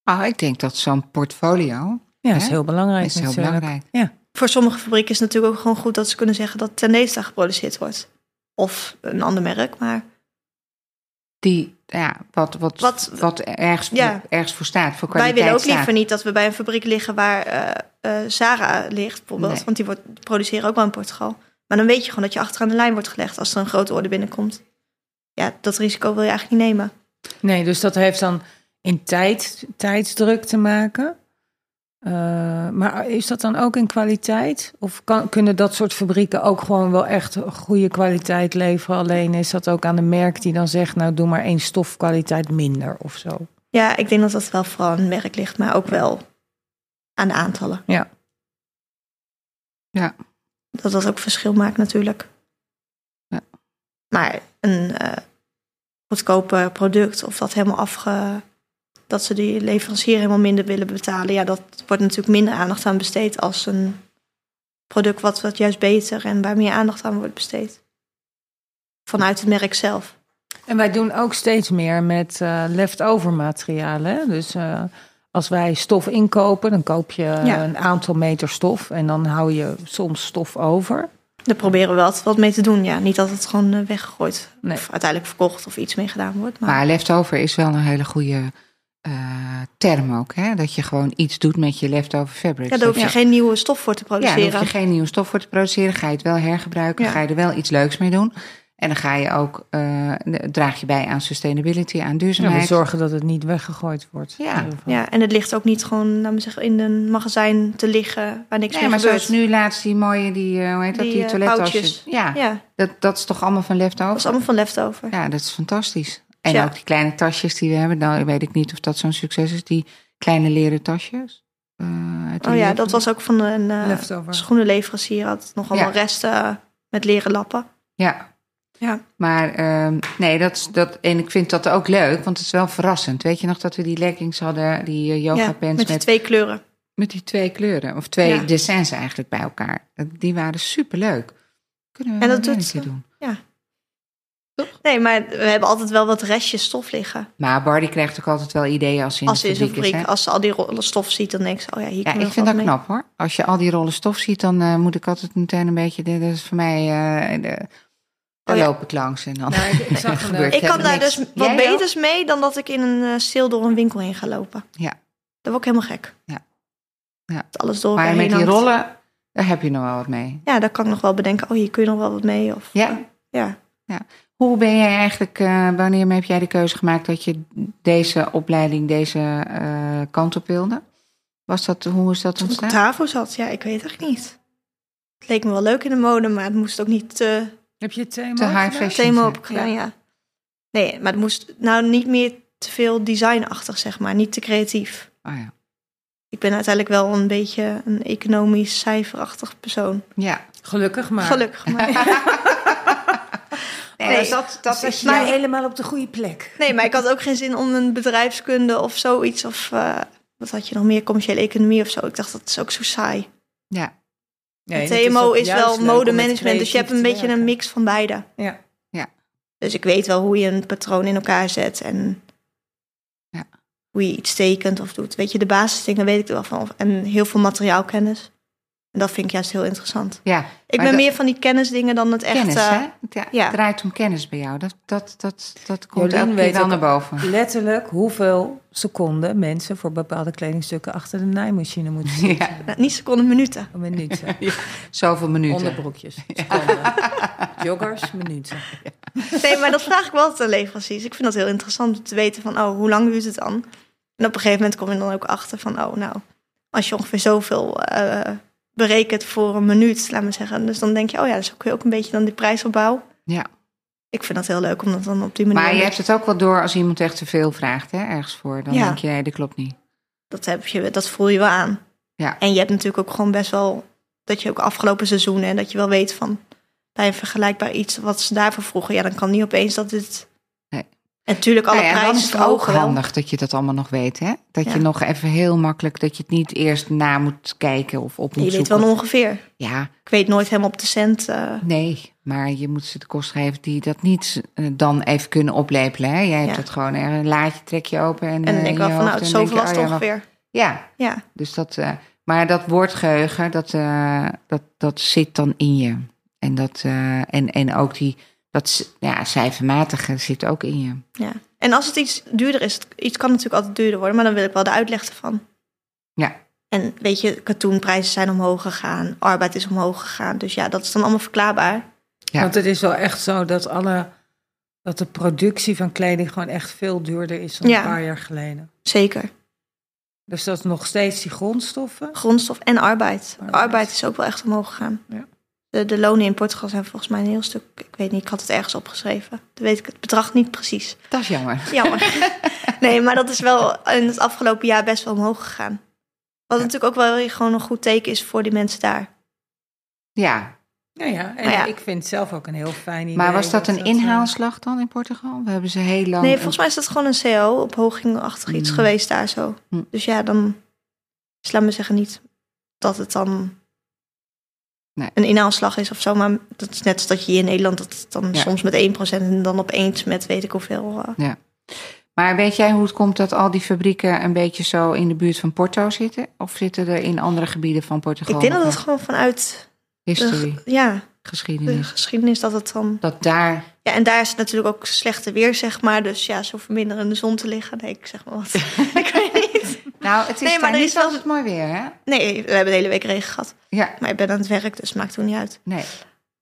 [SPEAKER 1] Oh, ik denk dat zo'n portfolio
[SPEAKER 3] Ja, dat is
[SPEAKER 1] Hè?
[SPEAKER 3] heel belangrijk.
[SPEAKER 1] is heel
[SPEAKER 3] natuurlijk.
[SPEAKER 1] belangrijk.
[SPEAKER 3] Ja.
[SPEAKER 2] voor sommige fabrieken is het natuurlijk ook gewoon goed dat ze kunnen zeggen dat Tendesta geproduceerd wordt. Of een ander merk, maar
[SPEAKER 1] Die, ja, wat, wat, wat,
[SPEAKER 2] Wat-
[SPEAKER 1] ergens,
[SPEAKER 2] Ja.
[SPEAKER 1] ergens voor staat, voor
[SPEAKER 2] wij
[SPEAKER 1] kwaliteit
[SPEAKER 2] willen ook
[SPEAKER 1] staat.
[SPEAKER 2] liever niet dat we bij een fabriek liggen waar eh eh Zara ligt, bijvoorbeeld.
[SPEAKER 1] Nee.
[SPEAKER 2] Want die wordt, produceren ook wel in Portugal. Maar dan weet je gewoon dat je achteraan de lijn wordt gelegd als er een grote order binnenkomt. Ja, dat risico wil je eigenlijk niet nemen.
[SPEAKER 3] Nee, dus dat heeft dan in tijd, tijdsdruk te maken. Eh, maar is dat dan ook in kwaliteit? Of kan, kunnen dat soort fabrieken ook gewoon wel echt goede kwaliteit leveren? Alleen is dat ook aan de merk die dan zegt, nou doe maar één stofkwaliteit minder of zo.
[SPEAKER 2] Ja, ik denk dat dat wel vooral aan het merk ligt, maar ook wel aan de aantallen.
[SPEAKER 3] Ja.
[SPEAKER 1] Ja.
[SPEAKER 2] Dat dat ook verschil maakt natuurlijk.
[SPEAKER 1] Ja.
[SPEAKER 2] Maar een eh goedkoper product of dat helemaal afge... Dat ze die leverancier helemaal minder willen betalen. Ja, dat wordt natuurlijk minder aandacht aan besteed als een product wat, wat juist beter en waar meer aandacht aan wordt besteed. Vanuit het merk zelf.
[SPEAKER 3] En wij doen ook steeds meer met eh, leftover materialen. hè. Dus eh, als wij stof inkopen, dan koop je
[SPEAKER 2] Ja.
[SPEAKER 3] een aantal meter stof en dan hou je soms stof over.
[SPEAKER 2] Daar proberen we wat, wat mee te doen. Ja, niet dat het gewoon eh, weggegooid
[SPEAKER 3] Nee.
[SPEAKER 2] of uiteindelijk verkocht of iets mee gedaan wordt. Maar,
[SPEAKER 1] Maar leftover is wel een hele goede eh, term ook. Hè? Dat je gewoon iets doet met je leftover fabrics.
[SPEAKER 2] ja, daar hoef je
[SPEAKER 1] Dat
[SPEAKER 2] geen nieuwe stof voor te
[SPEAKER 1] ja, daar
[SPEAKER 2] produceren.
[SPEAKER 1] hoef je geen nieuwe stof voor te produceren. Ga je het wel hergebruiken,
[SPEAKER 2] Ja.
[SPEAKER 1] ga je er wel iets leuks mee doen. En dan ga je ook, eh, draag je bij aan sustainability, aan
[SPEAKER 3] Ja, we
[SPEAKER 1] duurzaamheid.
[SPEAKER 3] zorgen dat het niet weggegooid wordt.
[SPEAKER 1] Ja.
[SPEAKER 3] In ieder geval.
[SPEAKER 2] Ja, en het ligt ook niet gewoon laten we zeggen, in een magazijn te liggen waar niks
[SPEAKER 1] Nee,
[SPEAKER 2] mee
[SPEAKER 1] maar
[SPEAKER 2] gebeurt.
[SPEAKER 1] zoals nu laatst die mooie, die, eh, hoe heet dat,
[SPEAKER 2] Die,
[SPEAKER 1] die
[SPEAKER 2] eh,
[SPEAKER 1] toilettasjes.
[SPEAKER 2] pouchjes.
[SPEAKER 1] Ja,
[SPEAKER 2] Ja, dat
[SPEAKER 1] Dat, dat is toch allemaal van leftover?
[SPEAKER 2] was allemaal van leftover.
[SPEAKER 1] Ja, dat is fantastisch. En
[SPEAKER 2] Ja.
[SPEAKER 1] ook die kleine tasjes die we hebben. Nou, weet ik niet of dat zo'n succes is. Die kleine leren tasjes. eh, uit de
[SPEAKER 2] oh ja,
[SPEAKER 1] leer-
[SPEAKER 2] dat was ook van een eh
[SPEAKER 3] Leftover.
[SPEAKER 2] schoenenleverancier. Had nog allemaal resten met leren lappen.
[SPEAKER 1] Ja.
[SPEAKER 2] Ja.
[SPEAKER 1] Maar ehm, nee, dat, is- dat, en ik vind dat ook leuk, want het is wel verrassend. Weet je nog dat we die leggings hadden, die eh, yoga
[SPEAKER 2] Ja,
[SPEAKER 1] pants
[SPEAKER 2] met
[SPEAKER 1] met,
[SPEAKER 2] die twee kleuren.
[SPEAKER 1] met die twee kleuren. Of twee
[SPEAKER 2] Ja.
[SPEAKER 1] dessins eigenlijk bij elkaar. Die waren superleuk. Kunnen we
[SPEAKER 2] En
[SPEAKER 1] wel
[SPEAKER 2] dat
[SPEAKER 1] weer een
[SPEAKER 2] doet
[SPEAKER 1] keer
[SPEAKER 2] ze.
[SPEAKER 1] doen.
[SPEAKER 2] Nee, maar we hebben altijd wel wat restjes stof liggen.
[SPEAKER 1] Maar Bardi krijgt ook altijd wel ideeën als hij in
[SPEAKER 2] als ze
[SPEAKER 1] de
[SPEAKER 2] in zo'n
[SPEAKER 1] fabriek is. hè?
[SPEAKER 2] fabriek, als ze al die rollen stof ziet, dan denkt ze, oh ja, hier
[SPEAKER 1] Ja,
[SPEAKER 2] kunnen
[SPEAKER 1] ik
[SPEAKER 2] we
[SPEAKER 1] vind dat
[SPEAKER 2] nog wat mee.
[SPEAKER 1] knap hoor. Als je al die rollen stof ziet, dan eh, moet ik altijd meteen een beetje. Dat is voor mij. eh de, daar
[SPEAKER 2] ja.
[SPEAKER 1] loop ik langs en dan.
[SPEAKER 3] Nou, ik, ik zag
[SPEAKER 1] Gebeurt.
[SPEAKER 3] een,
[SPEAKER 2] Ik kan
[SPEAKER 1] Verder
[SPEAKER 2] daar
[SPEAKER 1] niks.
[SPEAKER 2] dus wat
[SPEAKER 1] Jij wel?
[SPEAKER 2] beters mee dan dat ik in een eh stil door een winkel heen ga lopen.
[SPEAKER 1] Ja.
[SPEAKER 2] Daar word ik helemaal gek.
[SPEAKER 1] Ja. Ja.
[SPEAKER 2] Dat alles door
[SPEAKER 1] maar
[SPEAKER 2] elkaar
[SPEAKER 1] met
[SPEAKER 2] heen
[SPEAKER 1] die
[SPEAKER 2] hangt.
[SPEAKER 1] rollen, daar heb je nog wel wat mee.
[SPEAKER 2] Ja, daar kan ik nog wel bedenken. Oh, hier kun je nog wel wat mee. Of,
[SPEAKER 1] Ja.
[SPEAKER 2] ja.
[SPEAKER 1] Hoe ben jij eigenlijk, eh, wanneer heb jij de keuze gemaakt dat je deze opleiding, deze eh, kant op wilde? Was dat, hoe is dat
[SPEAKER 2] Toen ik op
[SPEAKER 1] ontstaan?
[SPEAKER 2] tafel zat, ja, ik weet het echt niet. Het leek me wel leuk in de mode, maar het moest ook niet te
[SPEAKER 3] heb je het thema?
[SPEAKER 1] Te high
[SPEAKER 3] gedaan?
[SPEAKER 1] fashion.
[SPEAKER 2] thema
[SPEAKER 1] ja.
[SPEAKER 2] op gedaan, ja. Nee, maar het moest nou niet meer te veel designachtig, zeg maar. Niet te creatief.
[SPEAKER 1] Oh, ja.
[SPEAKER 2] Ik ben uiteindelijk wel een beetje een economisch cijferachtig persoon.
[SPEAKER 1] ja.
[SPEAKER 3] Gelukkig maar.
[SPEAKER 2] Gelukkig maar.
[SPEAKER 1] Nee,
[SPEAKER 2] Nee,
[SPEAKER 1] dus dat, dat
[SPEAKER 3] Zat
[SPEAKER 1] is
[SPEAKER 3] je nou
[SPEAKER 1] jouw-
[SPEAKER 3] helemaal op de goede plek.
[SPEAKER 2] Nee, maar ik had ook geen zin om een bedrijfskunde of zoiets. Of eh, wat had je nog meer? Commerciële economie of zo. Ik dacht, dat is ook zo saai.
[SPEAKER 1] Ja,
[SPEAKER 2] het TMO is, wel modemanagement, dus je hebt een beetje een mix van beide.
[SPEAKER 3] Ja.
[SPEAKER 1] Ja.
[SPEAKER 2] Dus ik weet wel hoe je een patroon in elkaar zet en
[SPEAKER 1] Ja.
[SPEAKER 2] hoe je iets tekent of doet. Weet je, de basisdingen weet ik er wel van. En heel veel materiaalkennis. En dat vind ik juist heel interessant.
[SPEAKER 1] Ja,
[SPEAKER 2] Ik
[SPEAKER 1] maar
[SPEAKER 2] ben
[SPEAKER 1] dat-
[SPEAKER 2] meer van die kennisdingen dan het echt...
[SPEAKER 1] kennis,
[SPEAKER 2] eh,
[SPEAKER 1] hè? Ja,
[SPEAKER 2] ja.
[SPEAKER 1] Het draait om kennis bij jou. Dat, dat, dat, dat komt
[SPEAKER 3] Jolien
[SPEAKER 1] elke keer
[SPEAKER 3] weet
[SPEAKER 1] wel
[SPEAKER 3] ook-
[SPEAKER 1] naar boven.
[SPEAKER 3] Letterlijk hoeveel seconden mensen voor bepaalde kledingstukken achter de naaimachine moeten zitten.
[SPEAKER 1] Ja,
[SPEAKER 2] nou, niet seconden, minuten.
[SPEAKER 3] Een minuut.
[SPEAKER 1] zoveel minuten.
[SPEAKER 3] Onderbroekjes. seconden. Joggers, minuten.
[SPEAKER 2] Nee, maar dat vraag ik wel te leveranciers. Ik vind dat heel interessant om te weten van, oh, hoe lang duurt het dan? En op een gegeven moment kom je dan ook achter van, oh, nou, als je ongeveer zoveel eh, berekent voor een minuut, laat maar zeggen. Dus dan denk je, oh ja, dus kun je ook een beetje dan die prijsopbouw.
[SPEAKER 1] Ja.
[SPEAKER 2] Ik vind dat heel leuk om dat dan op die manier...
[SPEAKER 1] Maar je hebt het ook wel door als iemand echt te veel vraagt, hè, ergens voor. Dan
[SPEAKER 2] Ja.
[SPEAKER 1] denk je, nee, dat klopt niet.
[SPEAKER 2] dat, heb je, dat voel je wel aan.
[SPEAKER 1] Ja.
[SPEAKER 2] En je hebt natuurlijk ook gewoon best wel dat je ook afgelopen seizoenen en dat je wel weet van bij een vergelijkbaar iets wat ze daarvoor vroegen. Ja, dan kan niet opeens dat dit.
[SPEAKER 1] Nee.
[SPEAKER 2] En natuurlijk alle
[SPEAKER 1] Nou ja, en dan
[SPEAKER 2] prijzen
[SPEAKER 1] is het ook
[SPEAKER 2] verhogen wel.
[SPEAKER 1] handig dat je dat allemaal nog weet, hè? Dat
[SPEAKER 2] Ja.
[SPEAKER 1] je nog even heel makkelijk, dat je het niet eerst na moet kijken of op
[SPEAKER 2] Je
[SPEAKER 1] moet
[SPEAKER 2] weet
[SPEAKER 1] zoeken.
[SPEAKER 2] wel ongeveer.
[SPEAKER 1] Ja,
[SPEAKER 2] Ik weet nooit helemaal op de cent. eh,
[SPEAKER 1] nee, maar je moet ze de kost geven die dat niet eh, dan even kunnen oplepelen, hè? Jij hebt
[SPEAKER 2] Ja.
[SPEAKER 1] het gewoon er een laadje, trek je open en,
[SPEAKER 2] en
[SPEAKER 1] eh,
[SPEAKER 2] dan denk
[SPEAKER 1] in
[SPEAKER 2] ik wel
[SPEAKER 1] je
[SPEAKER 2] van nou,
[SPEAKER 1] hoofd
[SPEAKER 2] het
[SPEAKER 1] en
[SPEAKER 2] zoveel
[SPEAKER 1] denk
[SPEAKER 2] was
[SPEAKER 1] je,
[SPEAKER 2] het
[SPEAKER 1] oh ja, wacht.
[SPEAKER 2] ongeveer.
[SPEAKER 1] Ja,
[SPEAKER 2] Ja,
[SPEAKER 1] dus dat, eh, maar dat woordgeheugen, dat, eh, dat, dat zit dan in je. En, dat, eh, en, en ook die, dat c- ja, cijfermatige zit ook in je.
[SPEAKER 2] ja. En als het iets duurder is, het- iets kan natuurlijk altijd duurder worden, maar dan wil ik wel de uitleg ervan.
[SPEAKER 1] Ja.
[SPEAKER 2] En weet je, katoenprijzen zijn omhoog gegaan, arbeid is omhoog gegaan. Dus ja, dat is dan allemaal verklaarbaar.
[SPEAKER 1] Ja.
[SPEAKER 3] Want het is wel echt zo dat, alle, dat de productie van kleding gewoon echt veel duurder is dan
[SPEAKER 2] Ja.
[SPEAKER 3] een paar jaar geleden.
[SPEAKER 2] Zeker.
[SPEAKER 3] Dus dat is nog steeds die grondstoffen.
[SPEAKER 2] grondstof en arbeid.
[SPEAKER 3] Arbeid.
[SPEAKER 2] Arbeid, is ook wel echt omhoog gegaan.
[SPEAKER 3] Ja.
[SPEAKER 2] De, de lonen in Portugal zijn volgens mij een heel stuk. Ik weet niet, ik had het ergens opgeschreven. Dan weet ik het bedrag niet precies.
[SPEAKER 1] Dat is jammer.
[SPEAKER 2] Jammer. nee, maar dat is wel in het afgelopen jaar best wel omhoog gegaan. Wat natuurlijk ook wel weer gewoon een goed teken is voor die mensen daar.
[SPEAKER 1] Ja,
[SPEAKER 3] Nou ja, en
[SPEAKER 2] Maar ja.
[SPEAKER 3] ik vind het zelf ook een heel fijn idee.
[SPEAKER 1] Maar was dat een
[SPEAKER 3] eh,
[SPEAKER 1] inhaalslag dan in Portugal? We hebben ze heel lang.
[SPEAKER 2] Nee, volgens mij is dat gewoon een CO, ophogingachtig iets geweest daar zo.
[SPEAKER 1] Mm.
[SPEAKER 2] Dus ja, dan dus laat me zeggen niet dat het dan
[SPEAKER 1] Nee.
[SPEAKER 2] een inhaalslag is of zo. Maar dat is net als dat je hier in Nederland dat het dan
[SPEAKER 1] Ja.
[SPEAKER 2] soms met 1% en dan opeens met weet ik hoeveel. eh.
[SPEAKER 1] Maar weet jij hoe het komt dat al die fabrieken een beetje zo in de buurt van Porto zitten? Of zitten er in andere gebieden van Portugal?
[SPEAKER 2] ik denk dat
[SPEAKER 1] nog
[SPEAKER 2] het gewoon vanuit
[SPEAKER 1] wel
[SPEAKER 2] de,
[SPEAKER 1] history,
[SPEAKER 2] ja, de
[SPEAKER 1] geschiedenis.
[SPEAKER 2] geschiedenis dat het dan...
[SPEAKER 1] Dat daar.
[SPEAKER 2] Ja, en daar is het natuurlijk ook slechte weer, zeg maar. Dus ja, zo verminderen in de zon te liggen. Nee, ik zeg maar wat. ik weet niet.
[SPEAKER 1] Nou, het is
[SPEAKER 2] Nee, maar
[SPEAKER 1] daar
[SPEAKER 2] er
[SPEAKER 1] niet
[SPEAKER 2] is wel-
[SPEAKER 1] altijd mooi weer, hè?
[SPEAKER 2] Nee, we hebben de hele week regen gehad.
[SPEAKER 1] Ja,
[SPEAKER 2] Maar ik ben aan het werk, dus het maakt toen niet uit.
[SPEAKER 1] nee.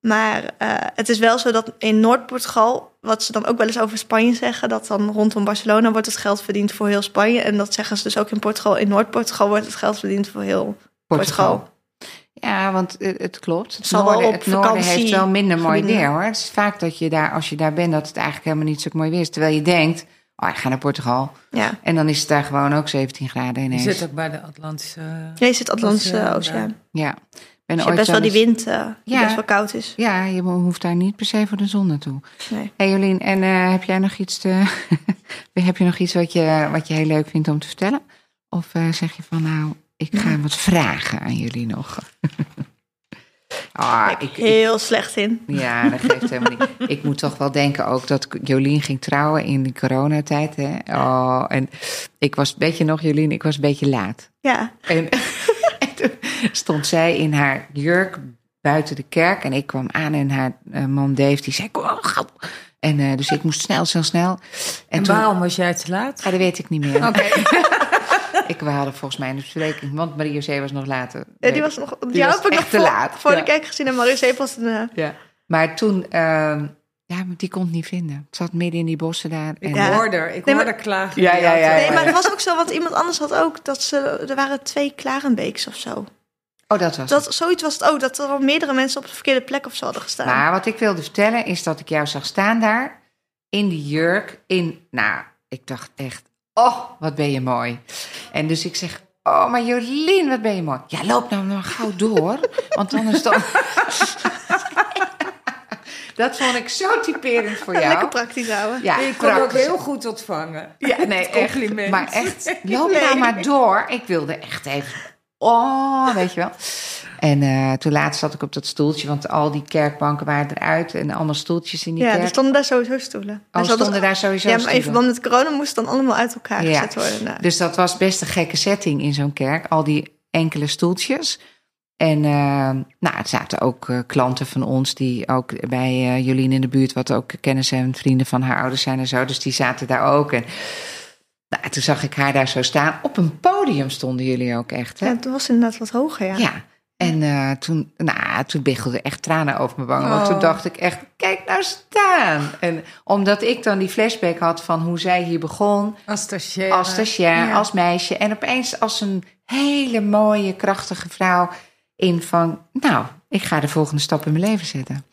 [SPEAKER 2] Maar eh, het is wel zo dat in Noord-Portugal, wat ze dan ook wel eens over Spanje zeggen, dat dan rondom Barcelona wordt het geld verdiend voor heel Spanje. En dat zeggen ze dus ook in Portugal. In Noord-Portugal wordt het geld verdiend voor heel Portugal.
[SPEAKER 1] Ja, want eh, het klopt. Het,
[SPEAKER 2] zal wel
[SPEAKER 1] noorden,
[SPEAKER 2] op
[SPEAKER 1] het noorden
[SPEAKER 2] vakantie
[SPEAKER 1] heeft wel minder mooi
[SPEAKER 2] gebieden.
[SPEAKER 1] weer hoor. Het is vaak dat je daar, als je daar bent, dat het eigenlijk helemaal niet zo mooi weer is. Terwijl je denkt, oh, ik ga naar Portugal.
[SPEAKER 2] Ja,
[SPEAKER 1] En dan is het daar gewoon ook 17 graden
[SPEAKER 3] Je
[SPEAKER 1] ineens.
[SPEAKER 3] zit ook bij de Atlantische.
[SPEAKER 2] je zit Atlantische
[SPEAKER 3] Oceaan,
[SPEAKER 2] Oceaan.
[SPEAKER 1] Ja. Ik Ben
[SPEAKER 2] Dus je hebt
[SPEAKER 1] ooit
[SPEAKER 2] best wel die
[SPEAKER 1] eens-
[SPEAKER 2] wind eh, die
[SPEAKER 1] Ja.
[SPEAKER 2] best wel koud is.
[SPEAKER 1] Ja, je hoeft daar niet per se voor de zon naartoe.
[SPEAKER 2] Nee.
[SPEAKER 1] Hey Jolien, en eh, heb jij nog iets, te, heb je nog iets wat, je, wat je heel leuk vindt om te vertellen? Of eh, zeg je van nou, ik ga wat vragen aan jullie nog? ah, ik, ik-
[SPEAKER 2] Heel slecht in.
[SPEAKER 1] ja, dat geeft helemaal niet. Ik moet toch wel denken ook dat Jolien ging trouwen in de coronatijd. Hè? Oh, en ik was, weet je nog Jolien, ik was een beetje laat.
[SPEAKER 2] Ja,
[SPEAKER 1] En, en toen stond zij in haar jurk buiten de kerk. En ik kwam aan en haar eh, man Dave, die zei, kom oh, gauw. En eh, dus ik moest snel, snel, snel. En,
[SPEAKER 3] En
[SPEAKER 1] toen,
[SPEAKER 3] waarom was jij te laat?
[SPEAKER 1] Ah, dat weet ik niet
[SPEAKER 2] Oh.
[SPEAKER 1] meer.
[SPEAKER 3] Oké.
[SPEAKER 1] Ik, we hadden volgens mij een bespreking, want Marie-José was nog later.
[SPEAKER 2] Ja, die was nog. Die
[SPEAKER 1] was
[SPEAKER 2] heb ik
[SPEAKER 1] echt
[SPEAKER 2] nog
[SPEAKER 1] te
[SPEAKER 2] voor,
[SPEAKER 1] laat,
[SPEAKER 2] voor
[SPEAKER 1] ja.
[SPEAKER 2] de kijk gezien. En Marius heeft pas een. eh,
[SPEAKER 1] Ja. Maar toen, ehm, ja, maar die kon het niet vinden. Het zat midden in die bossen daar.
[SPEAKER 3] Ik
[SPEAKER 1] En,
[SPEAKER 2] Ja.
[SPEAKER 3] hoorde er. Ik
[SPEAKER 2] Nee,
[SPEAKER 3] hoorde
[SPEAKER 2] maar-
[SPEAKER 3] klagen.
[SPEAKER 1] Ja,
[SPEAKER 3] in de
[SPEAKER 1] ja,
[SPEAKER 3] auto.
[SPEAKER 1] ja,
[SPEAKER 2] Nee,
[SPEAKER 1] ja.
[SPEAKER 2] maar het was ook zo, want iemand anders had ook dat ze. Er waren twee Klarenbeeks of zo.
[SPEAKER 1] Oh, dat was
[SPEAKER 2] Dat, zoiets was het ook, dat er al meerdere mensen op de verkeerde plek of zo hadden gestaan.
[SPEAKER 1] Maar wat ik wilde vertellen is dat ik jou zag staan daar in die jurk. In, nou, ik dacht echt, oh, wat ben je mooi. En dus ik zeg, oh, maar Jolien, wat ben je mooi. Ja, loop nou maar gauw door, want anders dan... dat vond ik zo typerend voor jou.
[SPEAKER 2] Lekker praktisch houden.
[SPEAKER 1] ja,
[SPEAKER 3] je kon ook
[SPEAKER 1] praktisch.
[SPEAKER 3] heel goed ontvangen.
[SPEAKER 1] Ja, nee,
[SPEAKER 3] Het compliment.
[SPEAKER 1] echt. Maar echt, loop
[SPEAKER 2] Nee.
[SPEAKER 1] nou maar door. Ik wilde echt even. Oh, weet je wel. En eh, toen laatst zat ik op dat stoeltje, want al die kerkbanken waren eruit en allemaal stoeltjes in die
[SPEAKER 2] Ja, dus er
[SPEAKER 1] kerk.
[SPEAKER 2] stonden daar sowieso stoelen.
[SPEAKER 1] Oh,
[SPEAKER 2] Er zat-
[SPEAKER 1] stonden daar sowieso
[SPEAKER 2] Ja, maar in
[SPEAKER 1] stoelen.
[SPEAKER 2] verband met corona moest dan allemaal uit elkaar
[SPEAKER 1] Ja.
[SPEAKER 2] gezet worden. Nou,
[SPEAKER 1] Dus dat was best een gekke setting in zo'n kerk. Al die enkele stoeltjes. En eh, nou, er zaten ook eh, klanten van ons die ook bij eh, Jolien in de buurt, wat ook kennis en vrienden van haar ouders zijn en zo. Dus die zaten daar ook. En nou, toen zag ik haar daar zo staan. Op een podium stonden jullie ook echt. Hè?
[SPEAKER 2] ja, het was inderdaad wat hoger, ja.
[SPEAKER 1] Ja. En eh, toen, nou, toen biggelde echt tranen over mijn wangen. Want
[SPEAKER 2] Oh.
[SPEAKER 1] toen dacht ik echt, kijk nou staan. En omdat ik dan die flashback had van hoe zij hier begon.
[SPEAKER 3] Als stagiair.
[SPEAKER 1] Als stagiair,
[SPEAKER 3] Ja.
[SPEAKER 1] als meisje. En opeens als een hele mooie, krachtige vrouw in van... Nou, ik ga de volgende stap in mijn leven zetten.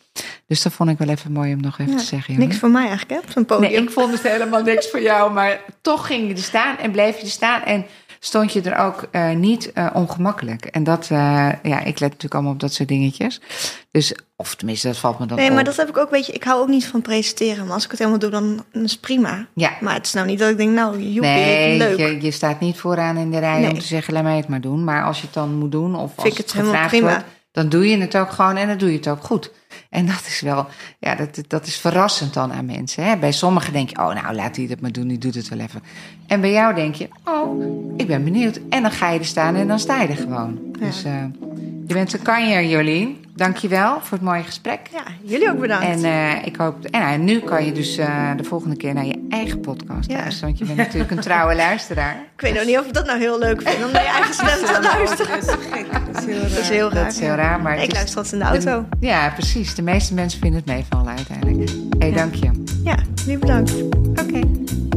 [SPEAKER 1] Dus dat vond ik wel even mooi om nog even
[SPEAKER 2] Ja,
[SPEAKER 1] te zeggen. Jolien.
[SPEAKER 2] Niks voor mij eigenlijk, hè, op zo'n podium.
[SPEAKER 1] Nee, ik vond het helemaal niks voor jou. Maar toch ging je er staan en bleef je er staan. En stond je er ook eh, niet eh, ongemakkelijk. En dat, eh, ja, ik let natuurlijk allemaal op dat soort dingetjes. Dus, of tenminste, dat valt me dan
[SPEAKER 2] Nee,
[SPEAKER 1] op.
[SPEAKER 2] maar dat heb ik ook, weet je, ik hou ook niet van presenteren. Maar als ik het helemaal doe, dan dan is het prima.
[SPEAKER 1] Ja.
[SPEAKER 2] Maar het is nou niet dat ik denk, nou, joepie,
[SPEAKER 1] Nee,
[SPEAKER 2] leuk.
[SPEAKER 1] Je, je staat niet vooraan in de rij om
[SPEAKER 2] Nee.
[SPEAKER 1] te zeggen, laat mij het maar doen. Maar als je het dan moet doen of als
[SPEAKER 2] ik het helemaal
[SPEAKER 1] gevraagd
[SPEAKER 2] prima.
[SPEAKER 1] wordt, dan doe je het ook gewoon en dan doe je het ook goed. En dat is wel, ja, dat, dat is verrassend dan aan mensen. Hè? Bij sommigen denk je, oh nou, laat die dat maar doen, die doet het wel even. En bij jou denk je, oh, ik ben benieuwd. En dan ga je er staan en dan sta je er gewoon.
[SPEAKER 2] Ja.
[SPEAKER 1] Dus eh, je bent een kanjer, Jolien. Dankjewel voor het mooie gesprek.
[SPEAKER 2] Ja, jullie ook bedankt.
[SPEAKER 1] En eh, ik hoop. En nou, nu kan je dus eh, de volgende keer naar je eigen podcast
[SPEAKER 2] Ja.
[SPEAKER 1] luisteren. Want je bent natuurlijk een trouwe luisteraar.
[SPEAKER 2] Ik weet nog niet of ik dat nou heel leuk vind, om naar je eigen stem te luisteren.
[SPEAKER 3] Dat is gek. Dat is heel
[SPEAKER 2] Dat
[SPEAKER 3] raar.
[SPEAKER 2] is heel raar.
[SPEAKER 1] Dat is heel raar. Maar
[SPEAKER 2] Nee,
[SPEAKER 1] het
[SPEAKER 2] ik
[SPEAKER 1] is-
[SPEAKER 2] luister altijd in de auto.
[SPEAKER 1] de- ja, precies. De meeste mensen vinden het meevallen uiteindelijk. Hé, hey, dank je.
[SPEAKER 2] Ja, jullie bedankt.
[SPEAKER 1] Oké.